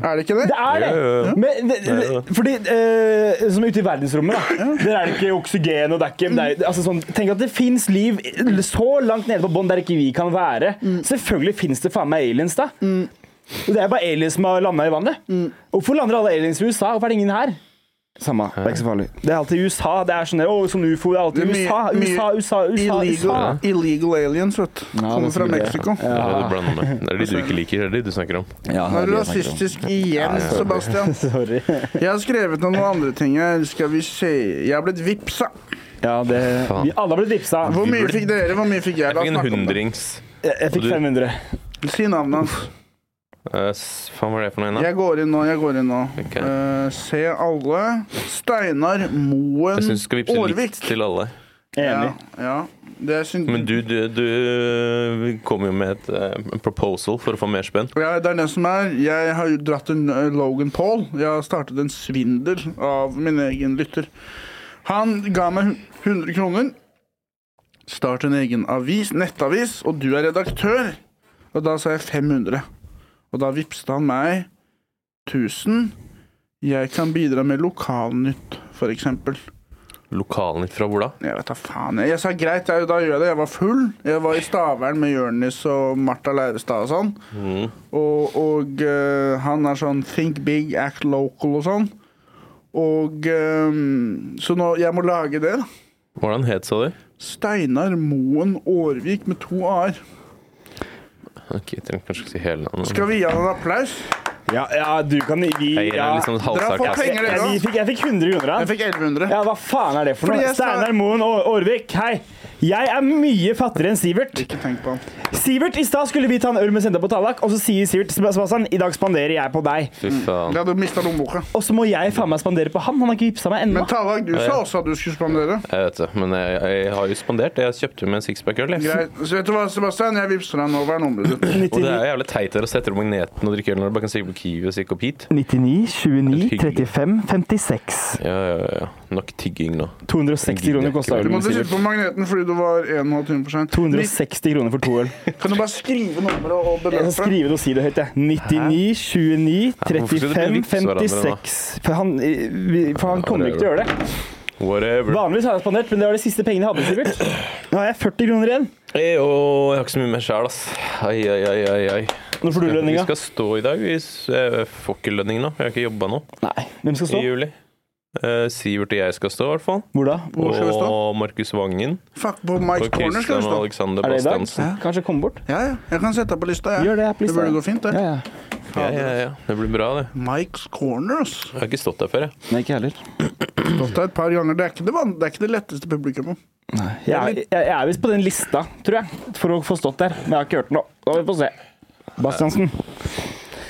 S1: Er det ikke det?
S4: Mm. Det er det!
S3: Ja, ja.
S4: Men, det,
S3: er
S4: det, fordi eh, Som ute i verdensrommet, da. Der er det ikke oksygen og det er ikke det er, altså, sånn, Tenk at det fins liv så langt nede på bånn der ikke vi kan være. Selvfølgelig fins det faen meg aliens, da. Og det er bare aliens som har landa i vannet. Hvorfor lander alle aliens i USA? Hvorfor er det ingen her? Mm. Samme, det er ikke så farlig. Det er alltid USA. Det er sånn, å, sånn ufo. Det er
S1: Det
S4: alltid
S1: er mye-
S4: USA, USA,
S1: mye
S4: USA, USA. USA.
S1: Illegal, illegal aliens, vet du. Kommer fra
S4: skulle jeg-
S1: Mexico.
S3: Det er det du blander med. Det er de du ikke liker, det er de du snakker om.
S4: Ja,
S1: Nå
S4: det
S1: er
S4: er
S1: du
S4: det jeg snakker om.
S1: rasistisk igjen, Sebastian.
S4: Sorry.
S1: Jeg har skrevet noen andre ting her. Skal vi se Jeg har blitt vippsa.
S4: Ja, det,
S3: Faen.
S4: vi alle har blitt vippsa.
S1: Hvor mye fikk dere? Hvor mye fikk jeg?
S3: Jeg
S1: La
S3: fikk
S1: oss
S3: en
S1: snakke om det.
S3: hundrings.
S4: Jeg, jeg fikk
S3: Og du-
S4: 500.
S1: Si navnet hans.
S3: Eh, s- faen, hva er det for noe igjen, da?
S1: Jeg går inn nå. jeg går inn nå.
S3: Ok.
S1: Eh, se alle. Steinar
S3: Jeg
S1: Moen
S3: syns du skal vippse
S1: Aarvik.
S3: likt til alle.
S4: Enig.
S1: Ja, ja. Det er synd.
S3: Men du, du, du kom jo med et eh, proposal for å få mer spenn.
S1: Ja, det er det som er. Jeg har jo dratt en eh, Logan Paul. Jeg har startet en svindel av min egen lytter. Han ga meg hun- 100 kroner. Start en egen avis, nettavis, og du er redaktør. Og da sa jeg 500. Og da vippset han meg 1000. Jeg kan bidra med lokalnytt, f.eks.
S3: Lokalnytt fra hvor da?
S1: Jeg vet da faen. Jeg, jeg sa greit, jeg, da gjør jeg det. Jeg var full. Jeg var i Stavern med Jørnis og Martha Leivestad og sånn.
S3: Mm.
S1: Og, og eh, han er sånn think big, act local og sånn. Og eh, Så nå, jeg må lage det, da.
S3: Hvordan het sa du?
S1: Steinar Moen Aarvik med to a-er.
S3: Ok, jeg trenger kanskje ikke si hele navnet.
S1: Skal vi gi han en applaus?
S4: Ja, ja, du kan gi
S3: Jeg gir
S4: ja.
S3: deg liksom et
S1: Dere har fått
S3: halvsarkastisk.
S1: penger.
S4: jeg, jeg, jeg, fikk, jeg fikk 100 kroner av
S1: Jeg
S4: han.
S1: fikk 1100.
S4: Ja, hva faen er det for
S1: Fordi
S4: noe?
S1: jeg sa-
S4: Steinar Moen Å- Aarvik, hei! Jeg er mye fattigere enn Sivert.
S1: Ikke tenk på han.
S4: Sivert, i stad skulle vi ta en øl med Senda på Tallak, og så sier Sivert Sebastian, i dag spanderer jeg på deg.
S3: Fy faen.
S1: Ja, du mista lommeboka.
S4: Og så må jeg faen meg spandere på han. Han har ikke vippsa meg ennå.
S1: Men Tallak, du sa også at du skulle spandere.
S3: Jeg vet det, men jeg, jeg har jo spandert. Jeg kjøpte jo med en sixpack øl. jeg.
S1: Greit. Så vet du hva, Sebastian? Jeg vippser deg nå. Hva er nummeret ditt?
S4: 99,
S3: Og det er jævlig teit dere setter opp magneten og drikker øl når du bare kan stikke på Kiwi og stikke opp hit.
S5: 29,
S3: Hyggelig.
S5: 35, 56.
S3: Ja, ja, ja. Nok tigging nå.
S4: 260 kroner kosta
S1: Du
S4: ølen min,
S1: måtte sitte
S4: Sivert.
S1: på magneten fordi du var 1 12 time for seint.
S4: 260 kroner for to øl.
S1: Kan du bare skrive nummeret og
S4: Jeg skal
S1: beløpet?
S4: skrive det og si det høyt, jeg. 99, 29,
S3: hvorfor skulle dere
S4: 35,
S3: vippse hverandre da?
S4: 56. For han, eh, vi- for han kommer ikke til å gjøre det.
S3: Whatever.
S4: Vanligvis har jeg spandert, men det var de siste pengene jeg hadde, Sivert. Nå har jeg 40 kroner igjen.
S3: Jeg, og, jeg har ikke så mye mer sjæl, ass. Ai, ai, ai, ai, ai.
S4: Nå får du
S3: Vi
S4: lønninga.
S3: skal stå i dag. Vi s- jeg får ikke lønning nå. Jeg har ikke jobba nå
S4: Nei, hvem skal
S3: i
S4: stå?
S3: juli. Eh, Sivert og jeg skal stå, i hvert fall.
S4: Hvor da?
S1: Hvor skal vi stå?
S3: Og Markus Vangen.
S1: Fuck, på
S3: Og
S1: Mike's Corner skal
S3: Kristian
S1: du
S3: og
S1: stå.
S3: Alexander
S4: Er det i dag?
S3: Bastiansen.
S4: Kanskje komme bort?
S1: Ja, ja. Jeg kan sette deg på lista, jeg.
S4: Gjør det, jeg er på
S1: Det
S4: lista,
S1: burde
S4: ja.
S1: gå fint, det.
S4: Ja, ja.
S3: Ja, ja, ja. Det blir bra, det.
S1: Mike's Corner, ass.
S3: Jeg har ikke stått der før, jeg.
S4: Nei, ikke heller.
S1: Stått der et par ganger. Det er ikke det, van- det, er ikke det letteste publikummet.
S4: Jeg, er- jeg, jeg er visst på den lista, tror jeg, for å få stått der. Men jeg har ikke hørt noe. Da får vi få se. Bastiansen.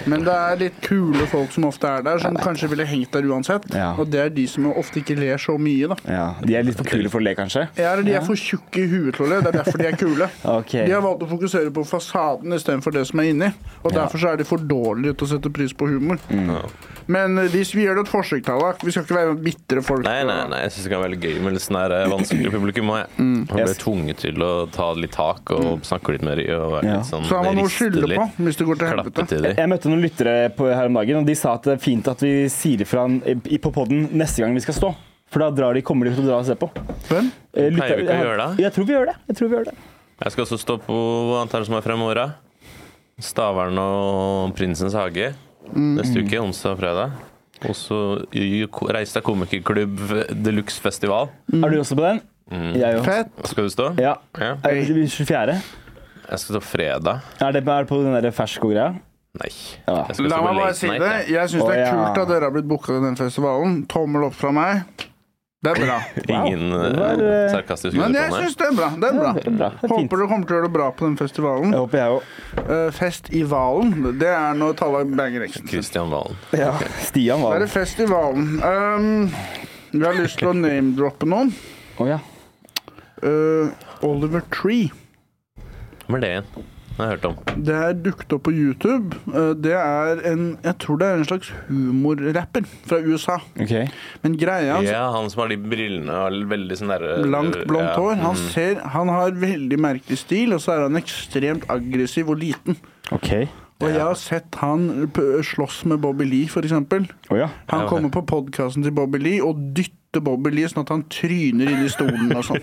S1: Men det er litt kule folk som ofte er der, som kanskje ville hengt der uansett.
S4: Ja.
S1: Og det er de som ofte ikke ler så mye, da.
S4: Ja, de er litt for kule for å le, kanskje?
S1: Ja, eller de er for tjukke i huet til å le. Det er derfor de er kule.
S4: Ok.
S1: De har valgt å fokusere på fasaden istedenfor det som er inni. Og derfor så er de for dårlige til å sette pris på humor.
S4: Mm.
S3: Mm.
S1: Men eh, hvis vi gjør det et forsøk, Tallak. Vi skal ikke være bitre folk.
S3: Nei, nei, nei, jeg syns det kan være litt gøy med litt sånn her eh, vanskelig publikum. og Jeg
S1: Mm.
S3: Jeg ble
S4: Yes.
S3: tvunget til å ta litt tak og snakke litt med dem og være
S4: Ja.
S3: litt sånn
S1: Så har man noe å
S3: riste
S1: skylde
S3: litt,
S1: på hvis det går til
S3: Klappe
S1: helvete.
S3: til dem.
S4: Jeg møtte noen lyttere på, her om dagen, og de sa at det er fint at vi sier ifra i- på poden neste gang vi skal stå. For da drar de, kommer de til å dra og se på.
S1: Hvem?
S4: Eh, lytter-
S3: Pleier vi ikke å gjøre det?
S4: Jeg tror vi gjør det. Jeg tror vi gjør det.
S3: Jeg skal også stå på hva annet er det som er fremover? da? Stavern og Prinsens hage neste uke, onsdag og fredag. Og så i- reis deg komikerklubb Deluxe festival.
S4: Er du også på den? Jeg òg.
S1: Fett.
S3: Skal du stå?
S4: Ja.
S3: Ja.
S4: Er det 24.?
S3: Jeg skal stå fredag.
S4: Er det, er det på den der fersko-greia?
S3: Nei.
S4: Ja.
S3: Jeg skal
S1: La
S3: stå på
S1: meg bare
S3: Late
S1: si
S3: Night,
S1: det.
S3: jeg.
S1: Jeg syns
S4: Å,
S1: det er
S4: ja.
S1: kult at dere har blitt booka til den festivalen. Tommel opp fra meg. Det er bra.
S4: Wow.
S3: Ingen
S4: Det
S3: eh,
S4: var, eh,
S3: sarkastisk
S1: Men jeg
S3: undertone.
S1: syns det er bra. Det er
S4: Det er
S1: bra.
S4: bra. Det er fint.
S1: Håper du kommer til å gjøre det bra på den festivalen.
S4: Jeg håper jeg òg.
S1: Eh, fest i Valen. Det er når Tallak banger eksen. sin.
S3: Kristian Valen.
S4: Ja. Stian
S1: Da
S4: var
S1: er det fest i Valen. Um, vi har lyst til å name-droppe noen.
S4: Å ja.
S1: Eh, Oliver Tree.
S3: Hvem er det igjen? Det har jeg hørt om.
S1: Det er dukket opp på YouTube. Eh, det er en Jeg tror det er en slags humorrapper fra USA.
S4: OK.
S1: Men greia hans
S3: Ja, han som har de brillene og veldig sånn derre
S1: Langt, blondt
S3: ja. Mm.
S1: hår. Han, ser, han har veldig merkelig stil, og så er han ekstremt aggressiv og liten.
S4: Ok.
S1: Og jeg har sett han p- slåss med Bobby Lee, for eksempel.
S4: Å ja.
S1: Han kommer på podkasten til Bobby Lee og dytter Bobby Lee sånn at han tryner inn i stolen og sånn.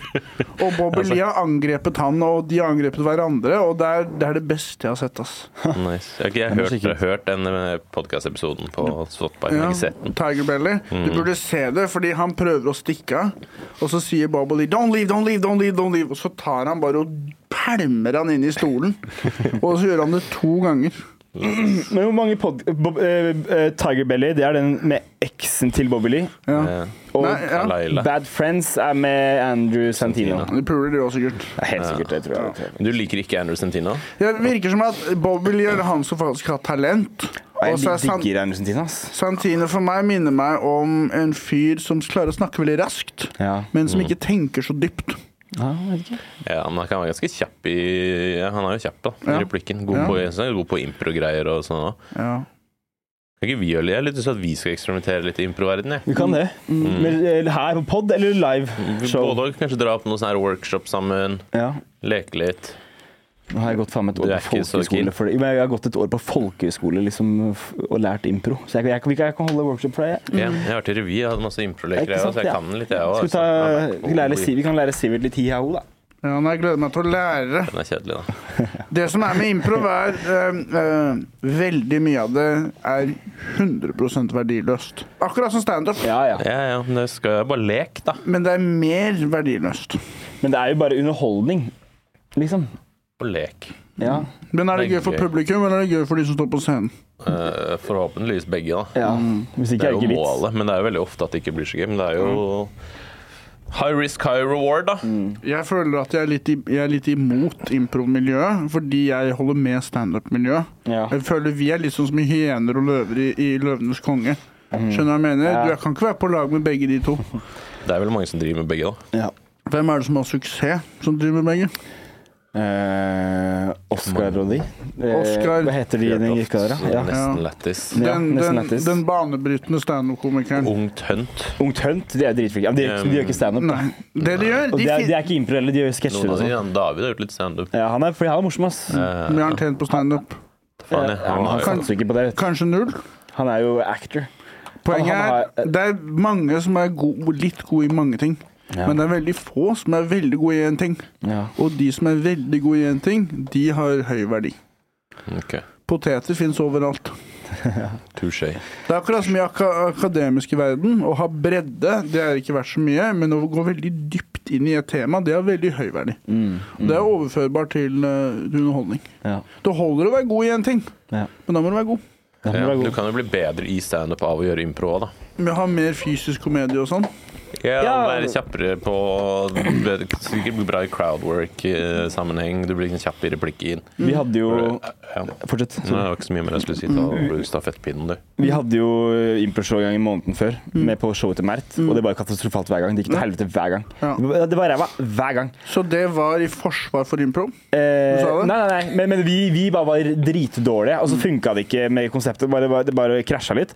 S1: Og Bobby
S3: Altså.
S1: Lee har angrepet han, og de har angrepet hverandre, og det er det, er det beste jeg har sett, ass.
S3: Nice. Jeg har ikke jeg
S4: må
S3: hørt,
S4: sjekke ut.
S3: hørt den podkastepisoden på Spotify. men Jeg har ikke sett den.
S1: Tiger Belly. Du burde se det, fordi han prøver å stikke av. Og så sier Bobby Lee 'don't leave, don't leave, don't leave', don't leave. og så tar han bare og pælmer han inn i stolen. og så gjør han det to ganger.
S4: Men hvor mange pod... Bob, eh, eh, Tiger Belly, det er den med eksen til Bobby Lee.
S1: Ja.
S3: Eh,
S4: Og
S1: Nei, ja.
S3: Laila.
S4: Bad Friends er med Andrew Santino.
S1: De puler, de òg, sikkert.
S4: Det er helt sikkert det, tror jeg. tror jeg.
S3: Du liker ikke Andrew Santino?
S1: Ja, Det virker som at Bobby Lee er han som faktisk har talent.
S4: Jeg
S1: Og så er San
S4: digger Andrew Santino, ass.
S1: Santino for meg minner meg om en fyr som klarer å snakke veldig raskt,
S4: Ja.
S1: men som ikke tenker så dypt.
S4: Ja, jeg vet ikke.
S3: Ja, men han kan være ganske kjapp i ja, Han er jo kjapp, da. I
S1: Ja.
S3: replikken. God
S1: Ja.
S3: på, så er han god på impro-greier og sånn òg.
S1: Ja.
S3: Kan ikke vi gjøre det? Jeg har litt lyst til at vi skal eksperimentere litt i improverdenen, jeg.
S4: Vi kan det. Men, eh, her på pod eller
S3: Vi
S4: live show?
S3: Både og kanskje dra på noen sånne her workshop sammen.
S4: Ja.
S3: Leke litt.
S4: Nå har jeg gått faen meg et
S3: Du
S4: år
S3: er
S4: på
S3: ikke så keen.
S4: folkehøyskole for det. Men jeg har gått et år på folkehøyskole liksom, f- og lært impro. Så jeg, jeg, jeg, kan holde workshop for deg. jeg.
S1: Mm.
S3: Ja, jeg har vært i revy, jeg hadde masse impro-leker,
S4: Ikke
S3: jeg
S4: sant,
S3: også, altså. så altså, jeg
S4: ja.
S3: kan den litt, jeg
S4: Skal
S3: òg.
S4: vi, ta, eh, vi, lære, Siv- vi kan lære Sivert litt hiao, da.
S1: Ja, nei, jeg gleder meg til å lære.
S3: Den er kjedelig, da.
S1: Det som er med improv, er eh, eh, Veldig mye av det er 100 verdiløst. Akkurat som standup,
S4: Ja, ja.
S3: Ja ja, men det skal jeg bare leke, da.
S1: men det er mer verdiløst.
S4: Men det er jo bare underholdning, liksom.
S3: Og lek.
S4: Ja.
S1: Men er det gøy for
S3: Det er gøy.
S1: publikum, eller er det gøy for de som står på scenen?
S3: Eh, forhåpentligvis begge, da.
S4: ja. Mm. Hvis
S3: Det
S4: ikke
S3: er
S4: er det
S3: jo
S4: ikke vits.
S3: målet, men det er jo veldig ofte at det ikke blir så gøy. Men det er jo High risk, high reward, da.
S4: Mm.
S1: Jeg føler at jeg er litt, i, jeg er litt imot improv-miljøet, fordi jeg holder med standup-miljøet.
S4: Ja.
S1: Jeg føler vi er litt sånn som hyener og løver i, i 'Løvenes konge'. Skjønner du hva jeg mener?
S4: Mhm. Ja.
S1: Du, jeg kan ikke være på lag med begge de to.
S3: Det er vel mange som driver med begge, da.
S4: Ja.
S1: Hvem er det som har suksess, som driver med begge?
S4: Eh, Oscar og de. Eh,
S1: Oscar.
S4: Hva heter de i den gikka der, da? Ja.
S3: Nesten
S1: Ja.
S3: lættis.
S4: Ja,
S1: Den,
S4: nesten
S1: den,
S4: lættis.
S1: den banebrytende standup-komikeren.
S3: Ungt hønt.
S4: Ungt Hunt, de er dritflinke. Ja, men de,
S3: Um,
S4: gjør ikke- de gjør ikke standup. da.
S1: Nei. Det de gjør,
S4: Og
S1: de
S4: de er, de
S1: fin-
S4: er ikke impro heller, de gjør sketsjer
S3: Noen
S4: og
S3: av de,
S4: sånn.
S3: ja, David har gjort litt standup. Eh,
S4: Ja, Mm, han er, fordi han er morsom, ass.
S1: vi har tjent på standup.
S3: Faen,
S4: Eh,
S3: jeg. Han
S4: han
S3: har jo
S4: satser ikke på det. vet du.
S1: Kanskje null.
S4: Han er jo actor.
S1: Poenget
S4: Han har-
S1: er det er mange som er go litt gode i mange ting. Men eh, det er veldig få som er veldig gode i én ting.
S4: Ja.
S1: Og de som er veldig gode i én ting, de har høy verdi.
S3: Ok.
S1: Poteter fins overalt.
S3: Touché.
S1: Det er akkurat som i ak akademisk verden. Å ha bredde det er ikke verdt så mye, men å gå veldig dypt inn i et tema, det har veldig høy verdi.
S4: Mm,
S1: Det er overførbart til eh, underholdning.
S4: Ja.
S1: Det holder å være god i én ting,
S4: Ja.
S1: men da må du være god.
S4: Ja, han
S3: Ja,
S4: er
S3: Eh, du
S4: god.
S3: kan jo bli bedre i standup av å gjøre impro òg, da.
S1: Med å ha mer fysisk komedie og sånn.
S3: Ja,
S4: Ja.
S3: Være kjappere på Sikkert bli bra i crowdwork-sammenheng. Du blir liksom kjapp i replikken.
S4: Vi hadde jo
S3: Ja.
S4: eh, Fortsett.
S3: Nå er det ikke så mye mer jeg skulle si. Ta over stafettpinnen, du.
S4: Vi hadde jo improshow en gang i måneden før, med på showet til Mert. Og det var katastrofalt hver gang. Det gikk til helvete hver gang.
S1: Mm. Ja.
S4: Det var ræva hver gang.
S1: Så det var i forsvar for impro.
S4: Eh,
S1: Du sa
S4: nei,
S1: det? Mm.
S4: nei, nei, men, men vi, vi bare var dritdårlige, og så funka det ikke med konseptet. Det Bare, det bare krasja litt.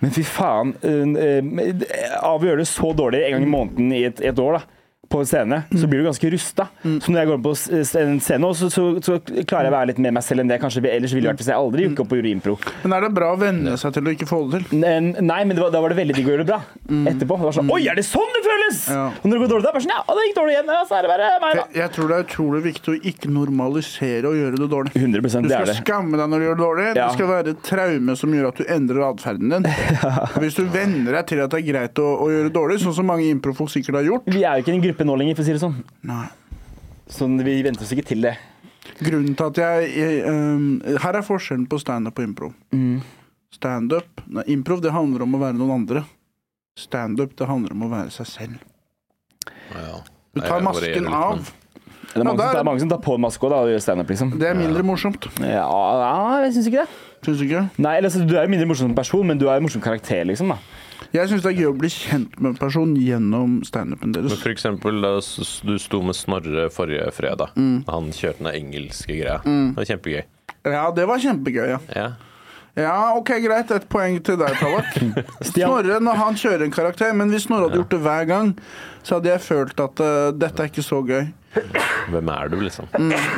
S4: Men fy faen. eh, eh, Av å gjøre det så dårlig en gang
S1: Mm.
S4: i måneden i et, et år, da på en scene, så blir du ganske rusta.
S1: Mm.
S4: Så når jeg går opp på s- s- en scene, også, så, så, så klarer jeg å være litt med meg selv enn det jeg kanskje ellers ville vært hvis jeg aldri
S1: Mm.
S4: gikk opp og gjorde impro.
S1: Men er det bra å venne seg til å ikke få det til?
S4: N- Nei, men det var, da var det veldig digg å gjøre det bra. Etterpå. Det var sånn, Oi, er det sånn det føles?!
S1: Mm. Ja.
S4: Og når det går dårlig, da, er det bare sånn, ja, å, det gikk dårlig igjen. Ja, så er det bare meg,
S1: Jeg,
S4: da.
S1: jeg tror det er utrolig viktig å ikke normalisere å gjøre det dårlig.
S4: 100
S1: Du
S4: det
S1: skal
S4: er det.
S1: skamme deg når du gjør det dårlig.
S4: Ja.
S1: Det skal være et traume som gjør at du endrer atferden din. Hvis du venner deg til at det er greit å, å gjøre det dårlig, sånn som mange improfolk sikkert har gjort
S4: Vi er jo ikke i en gruppe nå lenger, for å si det sånn.
S1: Nei.
S4: Sånn, Vi venter oss ikke til det.
S1: Grunnen til at jeg, jeg eh, Her er forskjellen på standup og impro.
S4: Mm.
S1: Standup Nei, improv det handler om å være noen andre. Standup det handler om å være seg selv.
S3: Ja.
S1: Du
S3: Nei,
S1: tar
S3: jeg varierer
S1: masken
S3: litt, sånn. men-
S4: sånn.
S1: av.
S4: Det er mange,
S1: da er
S4: som, det
S1: det-
S4: er mange som tar på en maske også, da, og gjør standup, liksom.
S1: Det er mindre morsomt,
S4: Ja, ja, jeg syns ikke det.
S1: syns du ikke?
S4: Nei, eller, altså, Du er jo mindre morsom som person, men du er en morsom karakter, liksom. da.
S1: Jeg syns det er gøy å bli kjent med en person gjennom standupen
S3: Men
S1: deres.
S3: for eksempel da s- s- du sto med Snorre forrige fredag.
S1: Mm.
S3: Han kjørte den engelske greia. Det var kjempegøy.
S1: Ja, det var kjempegøy, ja.
S3: Ja.
S1: Ja, OK, greit. Et poeng til deg, Tallak.
S4: Stian.
S1: Snorre når han kjører en karakter, men hvis Snorre hadde gjort det hver gang, så hadde jeg følt at eh, dette er ikke så gøy.
S3: Hvem er du, liksom?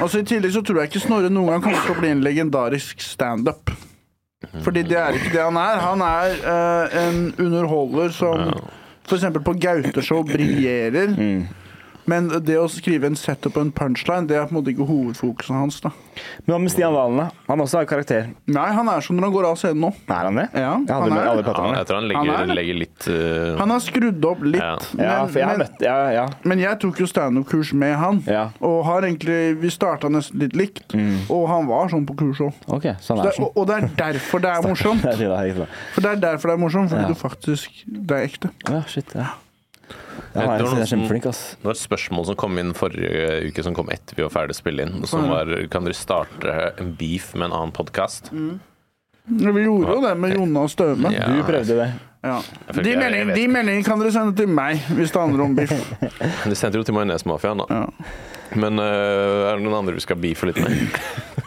S1: Altså I tillegg så tror jeg ikke Snorre noen gang kommer til å bli en legendarisk standup. Fordi det er ikke det han er. Han er eh, en underholder som f.eks. på Gauteshow briljerer.
S4: Mm.
S1: Men det å skrive en setup og en punchline, det er på en måte ikke hovedfokuset hans. da
S4: Men hva
S1: Mm.
S4: med Stian Valen? da? Han også har karakter.
S1: Nei, han er som når han går av scenen nå.
S4: Er han det?
S1: Ja, han
S4: jeg
S1: er-
S4: hadde, jeg hadde pratet
S3: Ja,
S4: om
S3: jeg
S4: det.
S3: tror han
S1: Han
S3: legger,
S1: er det.
S3: legger litt eh,
S1: Han har skrudd opp litt.
S3: Ja.
S4: Ja,
S1: men-
S4: for jeg har
S1: men-
S4: møtt Ja, ja.
S1: Men jeg tok jo standup-kurs med han,
S4: Ja. Mm.
S1: og har egentlig, vi starta nesten litt likt. Og han var sånn på kurs òg.
S4: OK, så han er sånn.
S1: Og og det er derfor det er morsomt.
S4: Det er det, ikke sant?
S1: For det er derfor det er morsomt, fordi
S4: Ja.
S1: du faktisk Det er ekte.
S4: Å Ja, shit, ja. Ja,
S3: Jeg
S4: han er,
S3: tror
S4: han
S3: noen
S4: er
S3: som-
S4: kjempeflink, ass.
S3: Det var et spørsmål som kom inn forrige uke, som kom etter vi var ferdig å spille inn. Som var Kan dere starte en beef med en annen podkast?
S1: Mm. Ja, Vi gjorde jo det med Jonna og Støme.
S3: Ja.
S4: Du prøvde det.
S1: Ja.
S3: følte
S1: De
S3: jeg- jeg
S1: meldingene
S3: vet
S1: de
S3: ikke.
S1: meldingene kan dere sende til meg hvis det handler om biff.
S3: De sendte jo til Majonesmafiaen, da.
S1: Ja.
S3: Men øh, er det noen andre vi skal beefe litt med?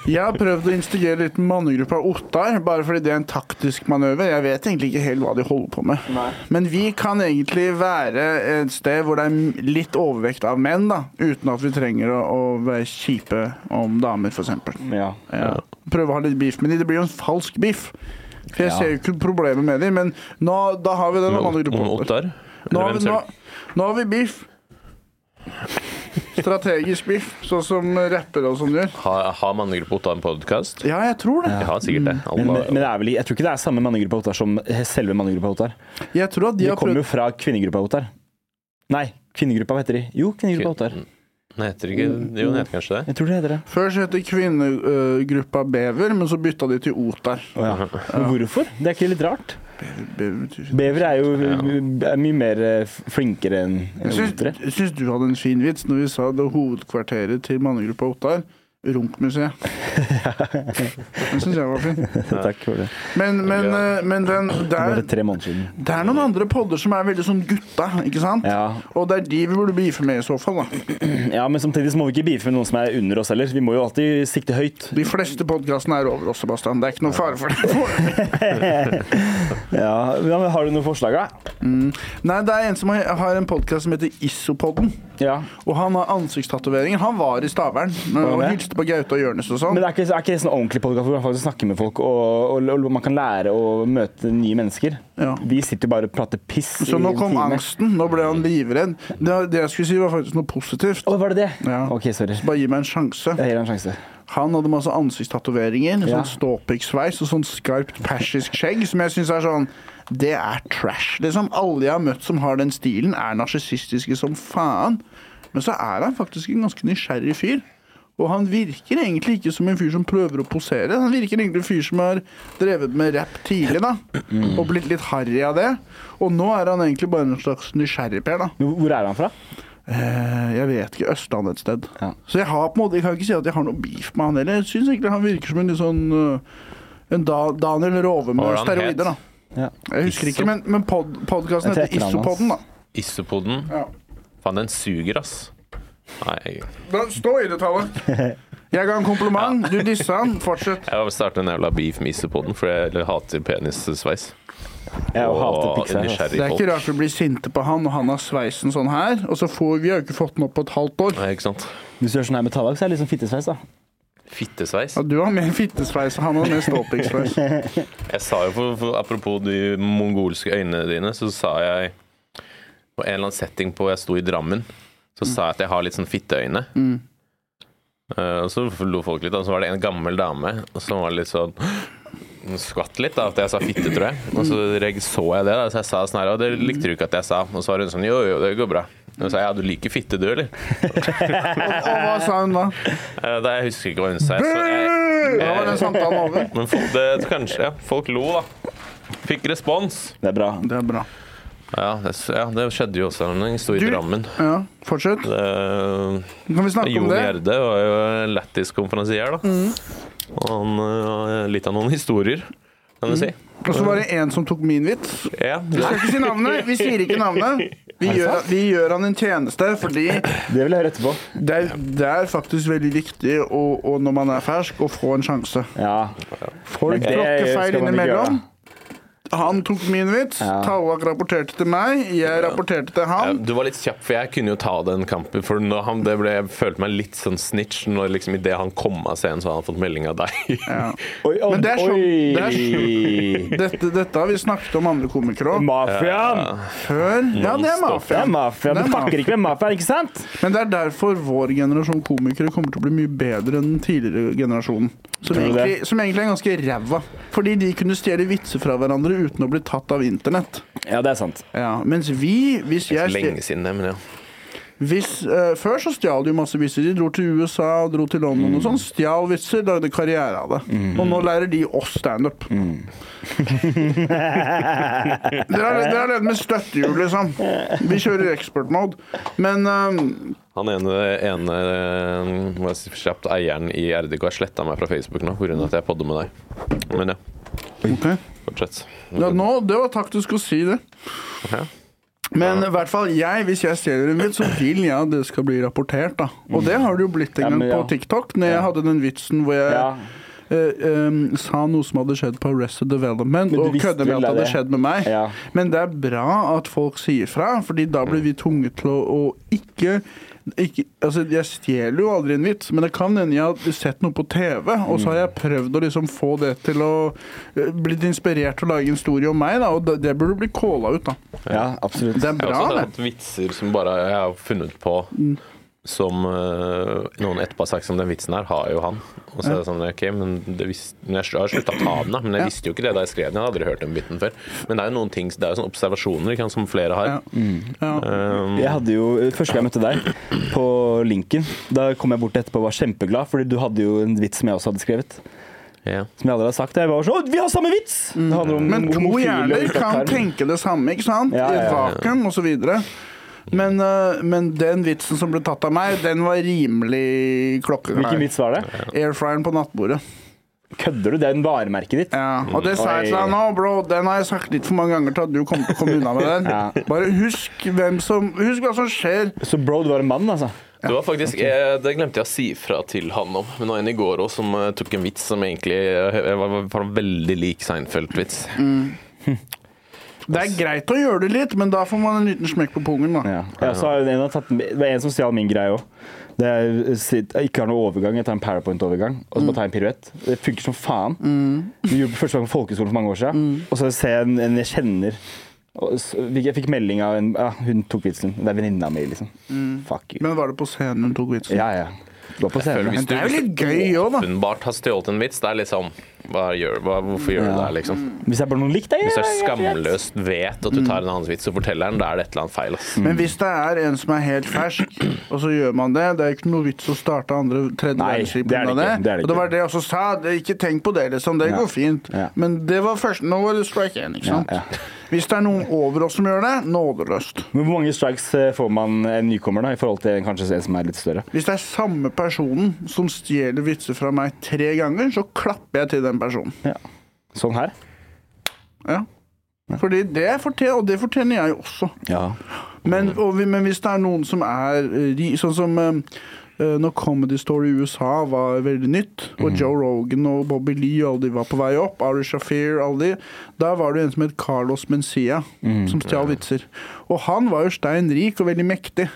S1: Jeg har prøvd å instigere litt mannegruppa Ottar, bare fordi det er en taktisk manøver. Jeg vet egentlig ikke helt hva de holder på med. Men vi kan egentlig være et sted hvor det er litt overvekt av menn, da. Uten at vi trenger å, å være kjipe om damer, f.eks.
S4: Ja.
S1: Ja. Prøve å ha litt beef med de. Det blir jo en falsk beef. For jeg
S4: Ja.
S1: ser jo ikke problemet med de, men nå, da har vi den mannegruppa
S3: Om
S1: Ottar.
S3: Ottar?
S1: Nå
S3: Eller
S1: har,
S3: hvem
S1: vi, nå,
S3: ser du?
S1: nå har vi beef. Strategisk beef, sånn som rappere og sånn gjør.
S3: Har, har mannegruppe Ottar en podkast?
S1: Ja, jeg tror det.
S3: Ja, sikkert det. Alle,
S4: Men, men det er vel, jeg tror ikke det er samme mannegruppa Ottar som selve mannegruppa Ottar.
S1: Jeg tror at de
S4: De
S1: har
S4: kommer
S1: prøvd
S4: jo fra kvinnegruppa Ottar. Nei, kvinnegruppa, hva heter de? Jo, kvinnegruppa Ottar.
S3: Nei, heter det ikke Jo, den heter kanskje det.
S4: Jeg tror det heter det.
S1: Før så het det kvinnegruppa Bever, men så bytta de til Otar.
S4: Men hvorfor? Det er ikke litt rart?
S1: Bever betyr fint.
S4: Bever er jo er mye mer eh, flinkere enn enn
S1: Syns,
S4: otere.
S1: syns du hadde en fin vits når vi sa det hovedkvarteret til mannegruppa Ottar? Runkmuseet. Den syns jeg var fin.
S4: Takk for det.
S1: Men, men, eh, men den, det, er,
S4: Bare tre måneder siden.
S1: det er noen andre podder som er veldig sånn gutta, ikke sant?
S4: Ja.
S1: Og det er de vi burde beefe med i så fall, da.
S4: ja, men samtidig så må vi ikke beefe med noen som er under oss heller. Vi må jo alltid sikte høyt.
S1: De fleste podkastene er over oss, Sebastian. Det er ikke noe fare for det.
S4: Ja, ja, men Har du noen forslag, da?
S1: Nei, det er en som har har en podkast som heter Isopodden.
S4: Ja.
S1: Og han har ansiktstatoveringer. Han var i Stavern og
S4: det?
S1: hilste på Gaute og Jonis og sånn.
S4: Men er ikke, er ikke det sånn ordentlig podkast hvor man faktisk snakker med folk, og, og, og man kan lære å møte nye mennesker?
S1: Ja.
S4: Vi sitter jo bare og prater piss
S1: Så nå
S4: en
S1: kom
S4: time.
S1: angsten. Nå ble han livredd. Det, det jeg skulle si, var faktisk noe positivt.
S4: Å, var det det?
S1: Ja.
S4: OK, sorry.
S1: Bare gi meg en sjanse.
S4: Jeg gir deg en sjanse.
S1: Han hadde masse ansiktstatoveringer,
S4: Ja.
S1: sånn ståpikksveis og sånn skarpt persisk skjegg, som jeg syns er sånn Det er trash. Liksom alle jeg har møtt som har den stilen, er narsissistiske som faen. Men så er han faktisk en ganske nysgjerrig fyr. Og han virker egentlig ikke som en fyr som prøver å posere. Han virker egentlig en fyr som har drevet med rapp tidlig, da. Og blitt litt harry av det. Og nå er han egentlig bare en slags nysgjerrigper, da.
S4: Men Hvor er han fra?
S1: Eh, Jeg vet ikke. Østlandet et sted.
S4: Ja.
S1: Så jeg har på en måte, jeg kan ikke si at jeg har noe beef med han heller. Jeg syns egentlig han virker som en litt sånn øh, en da, Daniel Rove
S3: Hva
S1: med
S3: var det han het?
S1: steroider, da.
S4: Ja.
S1: Jeg husker ikke, men, men pod, podkasten
S4: Jeg
S1: heter
S4: trekker han, ass.
S1: Isopodden, da.
S3: Issepoden.
S1: Ja.
S3: Faen, den suger, ass. Nei,
S1: da. Stå i det, tallet. Jeg ga en kompliment, du dissa han. Fortsett.
S3: jeg vil starte en jævla beef med Issepoden, for jeg hater penissveis.
S4: Jeg hater
S3: Og
S1: Det
S4: pizza. altså.
S3: nysgjerrig
S1: er ikke
S3: folk.
S1: rart vi blir sinte på han, og han har sveisen sånn her. Og så får vi har jo ikke fått den opp på et halvt år.
S3: Nei, ikke sant?
S4: Hvis du gjør sånn her med tallak, så er det liksom fittesveis, da.
S3: Fittesveis.
S1: Ja, du har mer fittesveis, og han har mer ståpikksveis.
S3: Jeg sa jo, for, for, apropos de mongolske øynene dine, så sa jeg på en eller annen setting på jeg sto i Drammen, så sa jeg at jeg har litt sånn fitteøyne. Eh, og så lo folk litt, og så var det en gammel dame som var litt sånn hun skvatt litt da, at jeg sa fitte, tror jeg. Og så reg- så jeg det, da, så jeg sa sånn her, og det likte du ikke at jeg sa. Og så var hun sånn, jo, jo, det går bra. Og så sa jeg, ja, du liker fitte du, eller?
S1: Og, og hva sa hun da?
S3: Eh, da, jeg husker ikke hva hun sa. Så jeg,
S1: Da var den samtalen over.
S3: men folk, det, kanskje, ja, folk lo da. Fikk respons.
S4: Det er bra.
S1: Det er bra.
S3: Ja, det, ja, det skjedde jo også en historie
S1: Du-
S3: i Drammen.
S1: Ja, fortsett.
S3: Det-
S1: Kan vi snakke om
S3: Jon
S1: det? Mm.
S3: Gjerde var jo en lættis konferansier, da. Og han eh, har litt av noen historier, kan
S1: Mm.
S3: du si.
S1: Og så var det en som tok min vits.
S3: Ja,
S1: Vi skal ikke si navnet. Vi sier ikke navnet. Vi gjør, vi gjør han en tjeneste, fordi
S4: Det vil jeg høre etterpå.
S1: det er, det er faktisk veldig viktig å, å, når man er fersk, å få en sjanse.
S4: Ja.
S1: Folk
S4: Men det
S1: tråkker feil
S4: skal man ikke
S1: innimellom. Han tok min vits.
S4: Ja.
S1: Tallak rapporterte til meg. Jeg rapporterte til
S3: Ja,
S1: han.
S3: du var litt kjapp, for jeg kunne jo ta den kampen. For når han, det ble, jeg følte meg litt sånn snitch når liksom idet han kom av scenen, så hadde han fått melding av deg.
S1: Ja.
S4: Oi, oi,
S1: Men det er sånn- det er sånn-
S4: oi.
S1: Dette, dette har vi snakket om andre komikere òg.
S4: Mafiaen!
S1: Før Ja, det er
S4: Det
S1: mafia.
S4: er mafiaen.
S1: Det er
S4: Du fucker ikke med mafiaen, ikke sant?
S1: Men det er derfor vår generasjon komikere kommer til å bli mye bedre enn den tidligere generasjonen. Som
S4: Tror du det?
S1: egentlig, som egentlig er ganske ræva. Fordi de kunne stjele vitser fra hverandre uten å bli tatt av internett.
S4: Ja, det er sant.
S1: Ja, mens vi, hvis jeg stjel-
S3: Lenge siden det, men ja.
S1: hvis, eh, Før så stjal de jo masse vitser. De dro til USA og dro til London og sånn. Stjal vitser, lagde karriere av det. Og nå lærer de oss standup. dere er dere er redd med støttehjul, liksom. Vi kjører expert-mode. Men eh,
S3: Han ene, ene eh, må jeg si kjapt, eieren i RDK har sletta meg fra Facebook nå pga. at jeg podder med deg. Men ja,
S1: ok.
S3: fortsett.
S1: Ja, nå, det var taktisk å si det.
S3: Ja.
S1: Men i hvert fall jeg, hvis jeg stjeler en vits, så vil jeg at det skal bli rapportert. da Og det har det jo blitt
S4: Ja,
S1: en gang
S4: men
S1: på
S4: ja.
S1: TikTok, når jeg hadde den vitsen hvor jeg
S4: Ja.
S1: eh, eh, sa noe som hadde skjedd på Arrested Development,
S4: du
S1: og
S4: visste
S1: kødde med
S4: vel
S1: at det hadde
S4: det?
S1: skjedd med meg.
S4: Ja.
S1: Men det er bra at folk sier fra, Fordi da blir vi
S4: Mm.
S1: tvunget til å, å ikke ikke, altså Jeg stjeler jo aldri en vits, men det kan hende jeg har sett noe på TV, og så har
S4: Mm.
S1: jeg prøvd å liksom få det til å eh, Blitt inspirert til å lage en historie om meg, da, og det, det burde bli calla ut, da.
S4: ja, altså, absolutt.
S1: Det er
S3: Jeg
S1: bra, Mm.
S3: har også
S1: det.
S3: hatt vitser som bare jeg har funnet på som eh, noen etterpå har sagt som den vitsen her, har jo han. Og så er det sånn, ok, men det vis- men jeg har slutta å ta den, da. Men jeg visste jo ikke det da jeg skrev den. Jeg hadde aldri hørt den biten før. Men det er jo noen ting, det er jo sånne observasjoner ikke sant, som flere har.
S1: Ja. Mm. Ja.
S3: Um,
S4: Jeg hadde jo, Første gang jeg møtte deg, på Linken, da kom jeg bort etterpå og var kjempeglad, fordi du hadde jo en vits som jeg også hadde skrevet.
S3: Ja.
S4: Som jeg aldri har sagt. Jeg bare sånn, «Å, vi har samme vits! Det handler om
S1: Men to
S4: homofile
S1: hjerner
S4: og
S1: kan
S4: utsatt tarm.
S1: tenke det samme, ikke sant?
S4: Ja, ja,
S1: I et
S4: ja.
S1: vakuum osv. Men, øh, men den vitsen som ble tatt av meg, den var rimelig
S4: Hvilken
S1: klokkeklar.
S4: vits var det?
S1: Airfryeren på nattbordet.
S4: Kødder du? Det er en varemerket ditt.
S1: Ja, og det sa jeg til
S4: Oi.
S1: deg nå, bro. Den har jeg sagt litt for mange ganger til at du kommer til å komme unna med den.
S4: Ja.
S1: Bare husk hvem som Husk hva som skjer.
S4: Så bro, du var en mann, altså?
S6: Det var faktisk, eh, det glemte jeg å si fra til han om. Men det var en i går òg som eh, tok en vits som egentlig eh, var, var- var veldig lik Seinfeld-vits.
S1: Mm. Det er greit å gjøre det litt, men da får man en liten smekk på pungen, da.
S4: Ja. Jeg også har en, har tatt, det var en som stjal min greie òg. Det er, eh, sitt- jeg ikke har noe overgang. Jeg tar en powerpoint-overgang og så bare tar jeg en piruett. Det funker som faen. Vi gjorde det første gang på folkeskolen for mange år siden. Og så ser jeg en, en jeg kjenner og s- Jeg fikk melding av en ja, Hun tok vitsen. Det er venninna mi, liksom. Fuck you.
S1: Men var det på scenen hun tok vitsen?
S4: Ja, ja. Du var på scenen.
S1: Men det er jo litt gøy òg, da.
S3: Åpenbart har stjålet en vits. Det er liksom hva gjør, hva, Hvorfor gjør du det, liksom?
S4: Hvis jeg bare noen likte det
S3: Hvis du er skamløst vet at du tar en annens vits og forteller den, da er det et eller annet feil. Ass.
S1: Men hvis det er en som er helt fersk, og så gjør man det Det er ikke noe vits å starte andre tredje
S4: Nei,
S1: verdenskrig
S4: det er det
S1: pga.
S4: ikke, det er
S1: Og
S4: det
S1: det
S4: ikke.
S1: var det jeg også sa. Det, ikke tenk på det, liksom. Det
S4: Ja.
S1: går fint.
S4: Ja.
S1: Men det var først Nå var det strike én, ikke sant?
S4: Ja,
S1: Hvis det er noen over oss som gjør det, nådeløst.
S4: Men hvor mange strikes eh, får man en nykommer da, i forhold til kanskje en som er litt større?
S1: Hvis det er samme personen som stjeler vitser fra meg tre ganger, så klapper jeg til den personen.
S4: Sånn her?
S1: Ja. Fordi det fortjener, og det fortjener jeg jo også.
S4: Ja.
S1: Men, og, vi- men hvis det er noen som er eh, ri- Sånn som eh, eh, når Comedy Story i USA var veldig nytt, og Joe Rogan og Bobby Lee og alle de var på vei opp, Ari Shafir alle de Da var det en som het Carlos Mencia, som stjal vitser. Og han var jo stein rik og veldig mektig.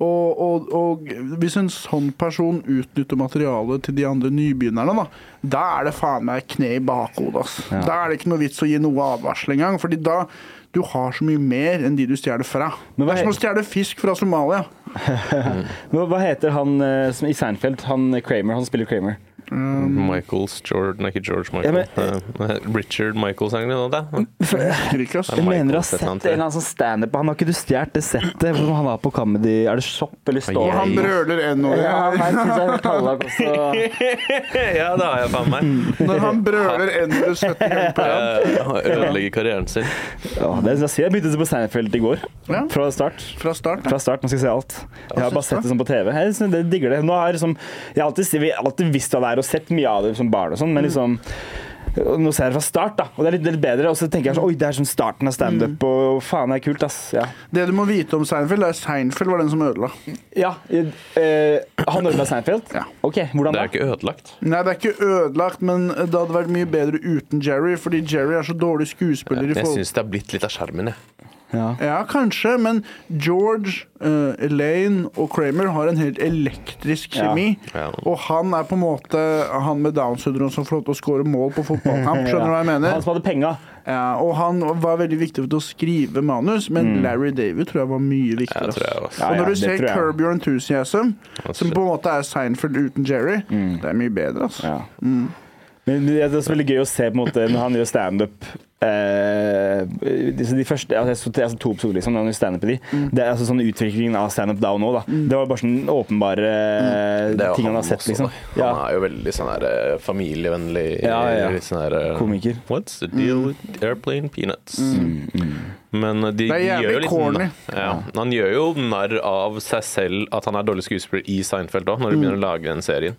S1: Og, og, og hvis en sånn person utnytter materialet til de andre nybegynnerne, da, da er det faen meg kne i bakhodet. Ass. Da er det ikke noe vits å gi noe advarsel engang. Fordi da du har så mye mer enn de du stjeler fra.
S4: Men hva
S1: det er som å
S4: he-
S1: stjele fisk fra Somalia.
S4: Men hva heter han eh, som i Seinfeld? Han eh, Kramer, han spiller Kramer. Mm.
S3: Michaels, George, nei, ikke George Michael. Eh, Richard Michaels, er det noe av det?
S1: Husker ikke, ass.
S3: Ja,
S4: Jeg mener å ha
S3: Michael,
S4: sett
S3: et eller
S4: en
S3: annet.
S4: eller annen sånn standup. Han har ikke du stjålet det settet hvor han var på comedy Er det Shop eller
S1: Og
S4: Store?
S1: han brøler ennå.
S4: Ja, han synes jeg er tallak også.
S3: Ja, det har jeg faen meg.
S1: Når han brøler ennå 17 ganger på rad.
S3: Eh, han Ødelegger karrieren sin.
S4: Ja, det synes jeg synd. Jeg begynte å se på Seinfeld i går.
S1: Ja.
S4: Fra start.
S1: Fra start.
S4: Fra start, Nå skal jeg se alt. Jeg har bare
S1: synes
S4: sett det sånn på TV. Jeg synes det- digger det. Nå har jeg, liksom, jeg har alltid, vi har alltid visst hva det er, og sett mye av det som barn og sånn, men liksom og Nå ser jeg det fra start, da, og det er litt, litt bedre. Og så tenker jeg sånn Oi, det er sånn starten av standup, og faen, det er kult, ass. Ja.
S1: Det du må vite om Seinfeld, er at Seinfeld var den som ødela.
S4: ja eh, han ødela Seinfeld?
S1: Ja.
S4: OK, hvordan
S3: Det
S4: da?
S3: er ikke ødelagt.
S1: Nei, det er ikke ødelagt, men det hadde vært mye bedre uten Jerry, fordi Jerry er så dårlig skuespiller. i
S3: Jeg
S1: forhold
S3: syns det er blitt litt av skjermen, jeg.
S4: Ja.
S1: Ja, kanskje, men George, eh, Elaine og Kramer har en helt elektrisk
S4: Ja.
S1: kjemi.
S3: Ja.
S1: Og han er på en måte han med Downs syndrom som får lov til å score mål på fotballkamp. Skjønner du hva jeg
S4: Han
S1: mener?
S4: som hadde penga.
S1: Ja, og han var veldig viktig for å skrive manus, men Larry David tror jeg var mye viktigere.
S3: Jeg tror jeg
S1: ass.
S3: også.
S4: Mm. Ja,
S1: og
S4: ja,
S1: når du
S4: det
S1: ser
S4: tror jeg.
S1: Curb Your Enthusiasm, som på en måte er Seinfeld uten Jerry, det er mye bedre. Altså.
S4: Mm. Ja. Men det er også veldig gøy å se på en måte når han gjør standup eh, de, de første, altså, jeg, så, jeg så to episoder liksom, når han gjør standup i de. Det er altså sånn utviklingen av standup da og nå. Da. Det var bare sånn åpenbare eh,
S6: Det er jo
S4: ting han har
S6: også,
S4: sett, liksom.
S6: da.
S4: Ja.
S6: Han er jo veldig sånn her eh, familievennlig.
S4: Ja, ja, ja.
S6: litt Sånn her, eh,
S4: Komiker.
S3: What's the deal with airplane peanuts? Men eh,
S1: Det
S3: de,
S1: er
S3: de
S1: jævlig
S3: gjør jo litt
S1: corny.
S3: Ja. Han gjør jo narr av seg selv at han er dårlig skuespiller i Seinfeld òg, når de begynner å lage den serien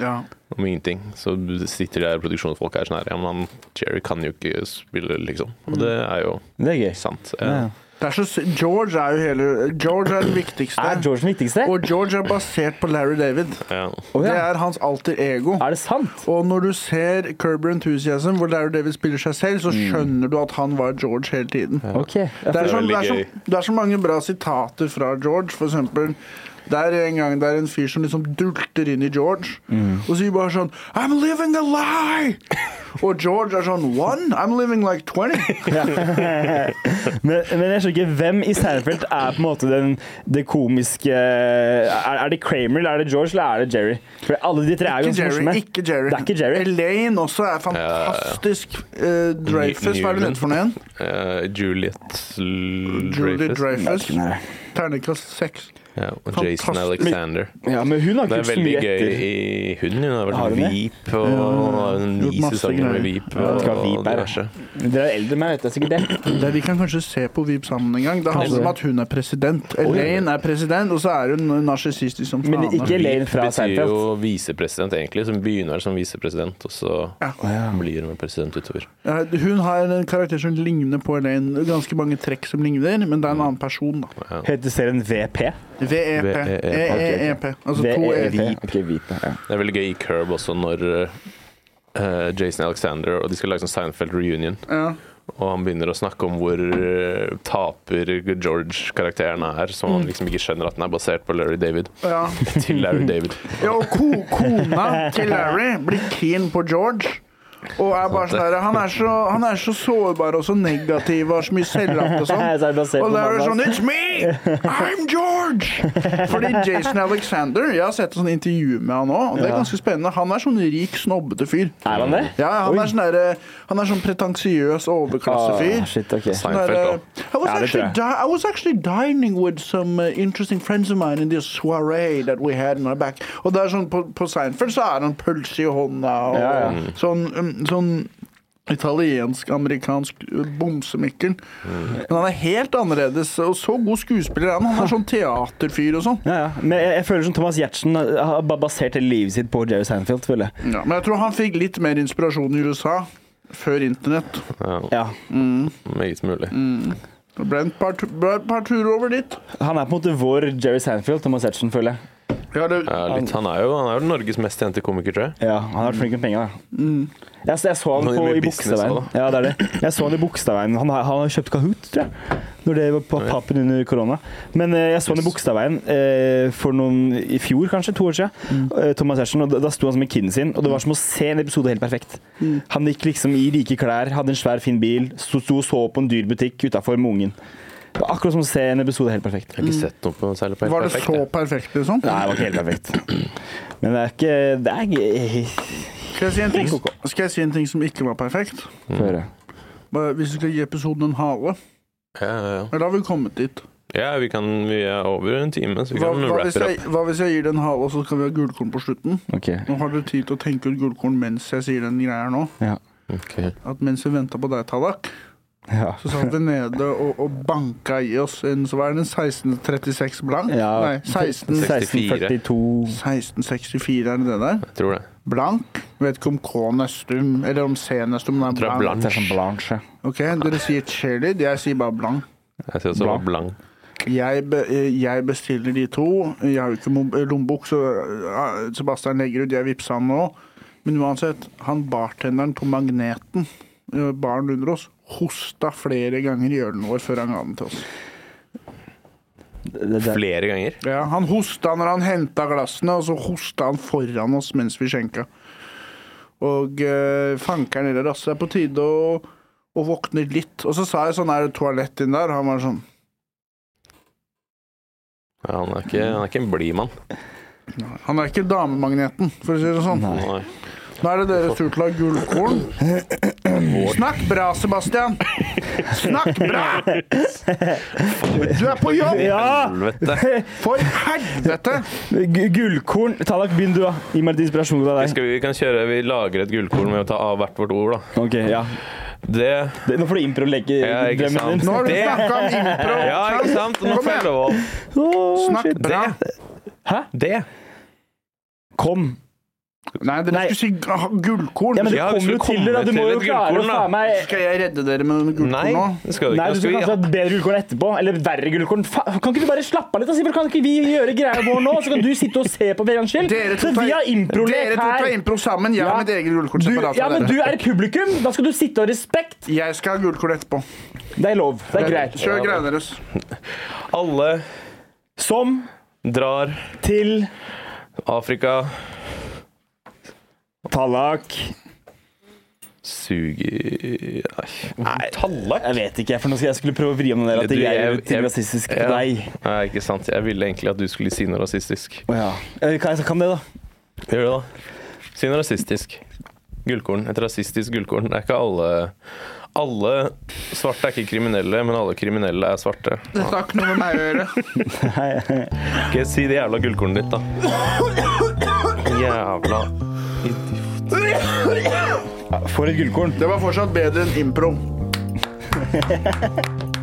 S1: Ja.
S3: om ingenting. Så sitter de der produksjonsfolk er sånn her Ja, men han Jerry kan jo ikke spille, liksom. Og det er jo
S4: Det er gøy.
S3: sant.
S4: Ja.
S3: Eh,
S1: Det er så, sy- George er jo hele George er den viktigste.
S4: Er George den viktigste?
S1: Og George er basert på Larry David.
S3: ja.
S4: Å,
S1: Det
S4: ja.
S1: er hans alter ego.
S4: Er det sant?
S1: Og når du ser Curber Enthusiasm, hvor Larry David spiller seg selv, så
S4: Mm.
S1: skjønner du at han var George hele tiden.
S4: OK.
S1: Det er, så,
S3: veldig
S1: det, er så,
S3: gøy.
S1: det er så mange bra sitater fra George, for eksempel. Det er en gang det er en fyr som liksom dulter inn i George
S4: Mm.
S1: og sier bare sånn I'm living a lie! Og George er sånn One? I'm living like 20.
S4: Men, men jeg skjønner ikke hvem i Seinfeld er på en måte den, det komiske er, er det Kramer, eller er det George, eller er det Jerry? For alle de tre er jo
S1: Ikke
S4: ganske
S1: Jerry.
S4: morsomme.
S1: Ikke Jerry.
S4: Det er ikke Jerry.
S1: Elaine også er fantastisk. Eh, Dreyfus, hva er det
S3: Newman.
S1: nett for noe igjen?
S3: eh, Juliet L-
S1: Julie
S3: Dreyfus.
S1: Dreyfus. Terningkast seks.
S3: Ja, og Jason
S1: Fantastisk.
S3: Alexander.
S4: Ja, men hun har
S3: Det
S4: ikke
S3: er
S4: så
S3: veldig
S4: mye
S3: gøy
S4: etter.
S3: i Hun hun har
S4: Har
S3: vært
S4: hun det?
S3: Veep og hun har
S1: Gjort
S3: ni
S1: masse
S3: sesonger med
S1: greier.
S3: Veep.
S4: Ja, det skal
S3: og
S4: Veep være.
S3: diverse.
S4: Dere er eldre enn meg, vet jeg sikkert det.
S1: Det, vi kan kanskje se på Veep sammen en gang. Det handler om at hun er president. Elaine er president, og så er hun narsissistisk som
S4: Men
S1: faen.
S4: ikke Elaine fra
S3: Det betyr
S4: Seinfeld.
S3: jo visepresident, egentlig, som begynner som visepresident, og så blir hun president utover.
S1: Ja, Hun har en karakter som ligner på Elaine. Ganske mange trekk som ligner, men det er en annen person, da. E
S4: Heter serien VP?
S1: VEP.
S3: VEP.
S1: EEP. Altså to
S4: VEP.
S1: E.
S4: Ok, Vip, ja.
S3: Det er veldig gøy i Curb også, når eh, Jason Alexander og de skal lage sånn Seinfeld reunion,
S1: Ja.
S3: og han begynner å snakke om hvor eh, taper George-karakteren er, som
S1: Mm.
S3: han liksom ikke skjønner at den er basert på Larry David.
S1: Ja.
S3: Til Larry David.
S1: Ja, og ko kona til Larry blir keen på George. Og er bare sånn her, han, er så, han er så sårbar og så negativ og har så mye selvlagt og
S4: Så er det
S1: sånn.
S4: basert på
S1: Og Larry er sånn
S4: mandag.
S1: It's me! I'm George! Fordi Jason Alexander Jeg har sett et sånt intervju med han òg, og det er ganske spennende. Han er sånn rik, snobbete fyr.
S4: Er han det?
S1: Ja, han er sånn derre- Han er sånn pretensiøs
S4: Ah,
S1: overklassefyr.
S4: shit, ok.
S1: Sånn derre,
S3: Seinfeld,
S1: I was,
S4: Ja, det tror
S1: actually
S4: jeg.
S1: di I was actually dining with some uh, interesting friends of mine in this soiree that we had in our back. Og det er sånn, på, på Seinfeld så er han pølse i hånda og
S4: Ja, ja.
S1: sånn, um, sånn italiensk-amerikansk uh, bomsemikkel.
S4: Mm.
S1: Men han er helt annerledes, og så god skuespiller er han. Han er sånn teaterfyr og sånn.
S4: Ja, ja. Men jeg, jeg føler som Thomas Giertsen har bare basert hele livet sitt på Jerry Seinfeld, føler jeg.
S1: Ja, men jeg tror han fikk litt mer inspirasjon i USA. Før internett.
S3: Ja,
S4: Ja.
S3: meget mulig.
S1: Mm. Det ble et par, tu- ble et par turer over dit.
S4: Han er på en måte vår Jerry Seinfeld, Thomas Giertsen, føler jeg.
S1: Ja, det,
S3: Ja, litt, han, er jo, han er jo Norges mest tjente komiker, tror jeg.
S4: Ja, han har vært flink med penger, da. Jeg, jeg så han
S3: Han er
S4: på,
S3: mye
S4: i
S3: business
S4: Bogstadveien.
S3: også,
S4: Ja, det er det. Jeg så han i Bogstadveien. Han, har- han har kjøpt Kahoot, tror jeg. Når det var på pappen under korona. Men eh, jeg så han i Bogstadveien eh, for noen i fjor, kanskje, to år siden. Eh, Thomas Giertsen. Og da, da sto han som en kid sin, og det var som å se en episode helt perfekt. Han gikk liksom i rike klær, hadde en svær, fin bil, sto sto og så på en dyr butikk utafor med ungen. Det var akkurat som å se en episode helt perfekt.
S3: Jeg har ikke sett noe på særlig på helt
S1: var Mm. det
S3: perfekt,
S1: så
S3: jeg.
S1: perfekt, liksom?
S4: Nei, det var ikke helt perfekt. Men det er ikke Det er ikke
S1: Skal jeg, si en ting, skal jeg si en ting som ikke var perfekt?
S4: Få
S3: Mm.
S4: høre.
S1: Bare Hvis vi skal gi episoden en hale.
S3: Ja, ja, ja.
S1: Men da har vi kommet dit.
S3: ja vi, kan, vi er over en time, så vi
S1: Hva,
S3: kan
S1: hva,
S3: wrap
S1: hvis
S3: it
S1: jeg,
S3: up.
S1: hva hvis jeg gir det en hale, og så skal vi ha gullkorn på slutten?
S4: Ok.
S1: Nå har dere tid til å tenke ut gullkorn mens jeg sier den greia her nå.
S4: Ja.
S3: Ok.
S1: At mens vi venta på deg, Tallak,
S4: Ja.
S1: så satt vi nede og, og banka i oss en så var det en 1636 blank?
S4: Ja.
S1: Nei, 16,
S4: 1642
S1: 1664 er det det der.
S3: Jeg tror det.
S1: Blank. Vet ikke om K Nøstum, eller om C Nøstum men det er
S3: tror jeg
S1: blank.
S4: Det er sånn blanche.
S1: Ok, Dere sier cheerlead, jeg sier bare blank.
S3: Jeg ser også
S4: Blank.
S3: blank.
S1: Jeg, be, eh, jeg bestiller de to. Jeg har jo ikke mo- eh, lommebok, så eh, Sebastian legger ut. Jeg vippser han nå. Men uansett, han bartenderen på Magneten, eh, baren under oss, hosta flere ganger i ølen vår før han ga den til oss.
S4: Det, det,
S3: Flere ganger.
S1: Ja, han hosta når han henta glassene, og så hosta han foran oss mens vi skjenka. Og eh, fankeren eller altså, det er på tide å, å våkne litt. Og så sa jeg sånn, er det toalett inn der? Han var sånn
S3: Ja, han, er ikke, han er ikke en blid mann.
S1: Han er ikke damemagneten, for å si det sånn.
S3: Nei.
S1: Nå er det deres tur til å ha gullkorn. Snakk bra, Sebastian! Snakk bra! Du er på jobb!
S4: ja!
S3: Helvete.
S1: For helvete!
S4: Gu- Gullkorn. Tallak, begynn du, da. Gi meg litt inspirasjon fra deg.
S3: Skal vi, vi kan kjøre, vi lager et gullkorn med å ta av hvert vårt ord, da.
S4: Ok, ja.
S3: Det
S4: Det, nå får du improleke
S3: Ja, ikke
S4: drømmen
S3: sant.
S4: din.
S1: Nå har du
S3: Det-
S1: snakka om impro.
S3: Ja, ikke sant? Nå
S1: Kom
S3: får jeg
S1: igjen!
S3: lov.
S4: Åh,
S1: Snakk
S4: shit.
S1: bra.
S4: Hæ?
S3: Det.
S4: Kom.
S1: Nei, dere
S4: Nei.
S1: skulle si ah, gullkorn.
S4: Ja, men du
S3: Ja, vi
S4: kommer jo
S3: skulle
S4: til det, da.
S3: komme
S4: Du må
S3: til
S4: jo
S3: et
S4: klare å
S3: gullkorn, da.
S4: faen meg
S1: Skal jeg redde dere med noen
S3: Nei,
S1: gullkorn nå?
S3: det skal du
S4: Nei, du skal
S3: ikke. Nå skal vi
S4: kanskje ha et bedre gullkorn etterpå. Eller verre gullkorn. Fa kan ikke du bare slappe av litt? da, Sivert? Kan ikke vi gjøre greia vår nå, så kan du sitte og se på Beran Schill?
S1: Dere to
S4: Så Vi har improlek
S1: dere to tar
S4: her.
S1: impro sammen. Jeg har
S4: Ja.
S1: mitt eget gullkorn
S4: Du,
S1: separat
S4: ja,
S1: fra
S4: men du
S1: dere.
S4: er publikum. Da skal du sitte og ha respekt.
S1: Jeg skal ha gullkorn etterpå.
S4: Det er lov. Det er greit.
S1: Kjør greiene deres.
S3: Alle
S4: Som
S3: drar
S4: til
S3: Afrika
S4: Tallak.
S3: suger Nei, tallak?
S4: Jeg vet ikke, for nå skal jeg skulle prøve å vri om det der at
S3: Du,
S4: jeg er
S3: jeg-
S4: til
S3: jeg-
S4: rasistisk på
S3: Ja.
S4: deg.
S3: Nei, ikke sant. Jeg ville egentlig at du skulle si noe rasistisk.
S4: Å ja. Eh, Kan jeg kan det, da?
S3: Gjør det, da. Si noe rasistisk. gullkorn. Et rasistisk gullkorn. Det er ikke alle Alle svarte er ikke kriminelle, men alle kriminelle er svarte.
S1: Dette har ikke noe med meg å gjøre.
S3: Ikke si det jævla gullkornet ditt, da. Jævla
S4: For et gullkorn.
S1: Det var fortsatt bedre enn impro.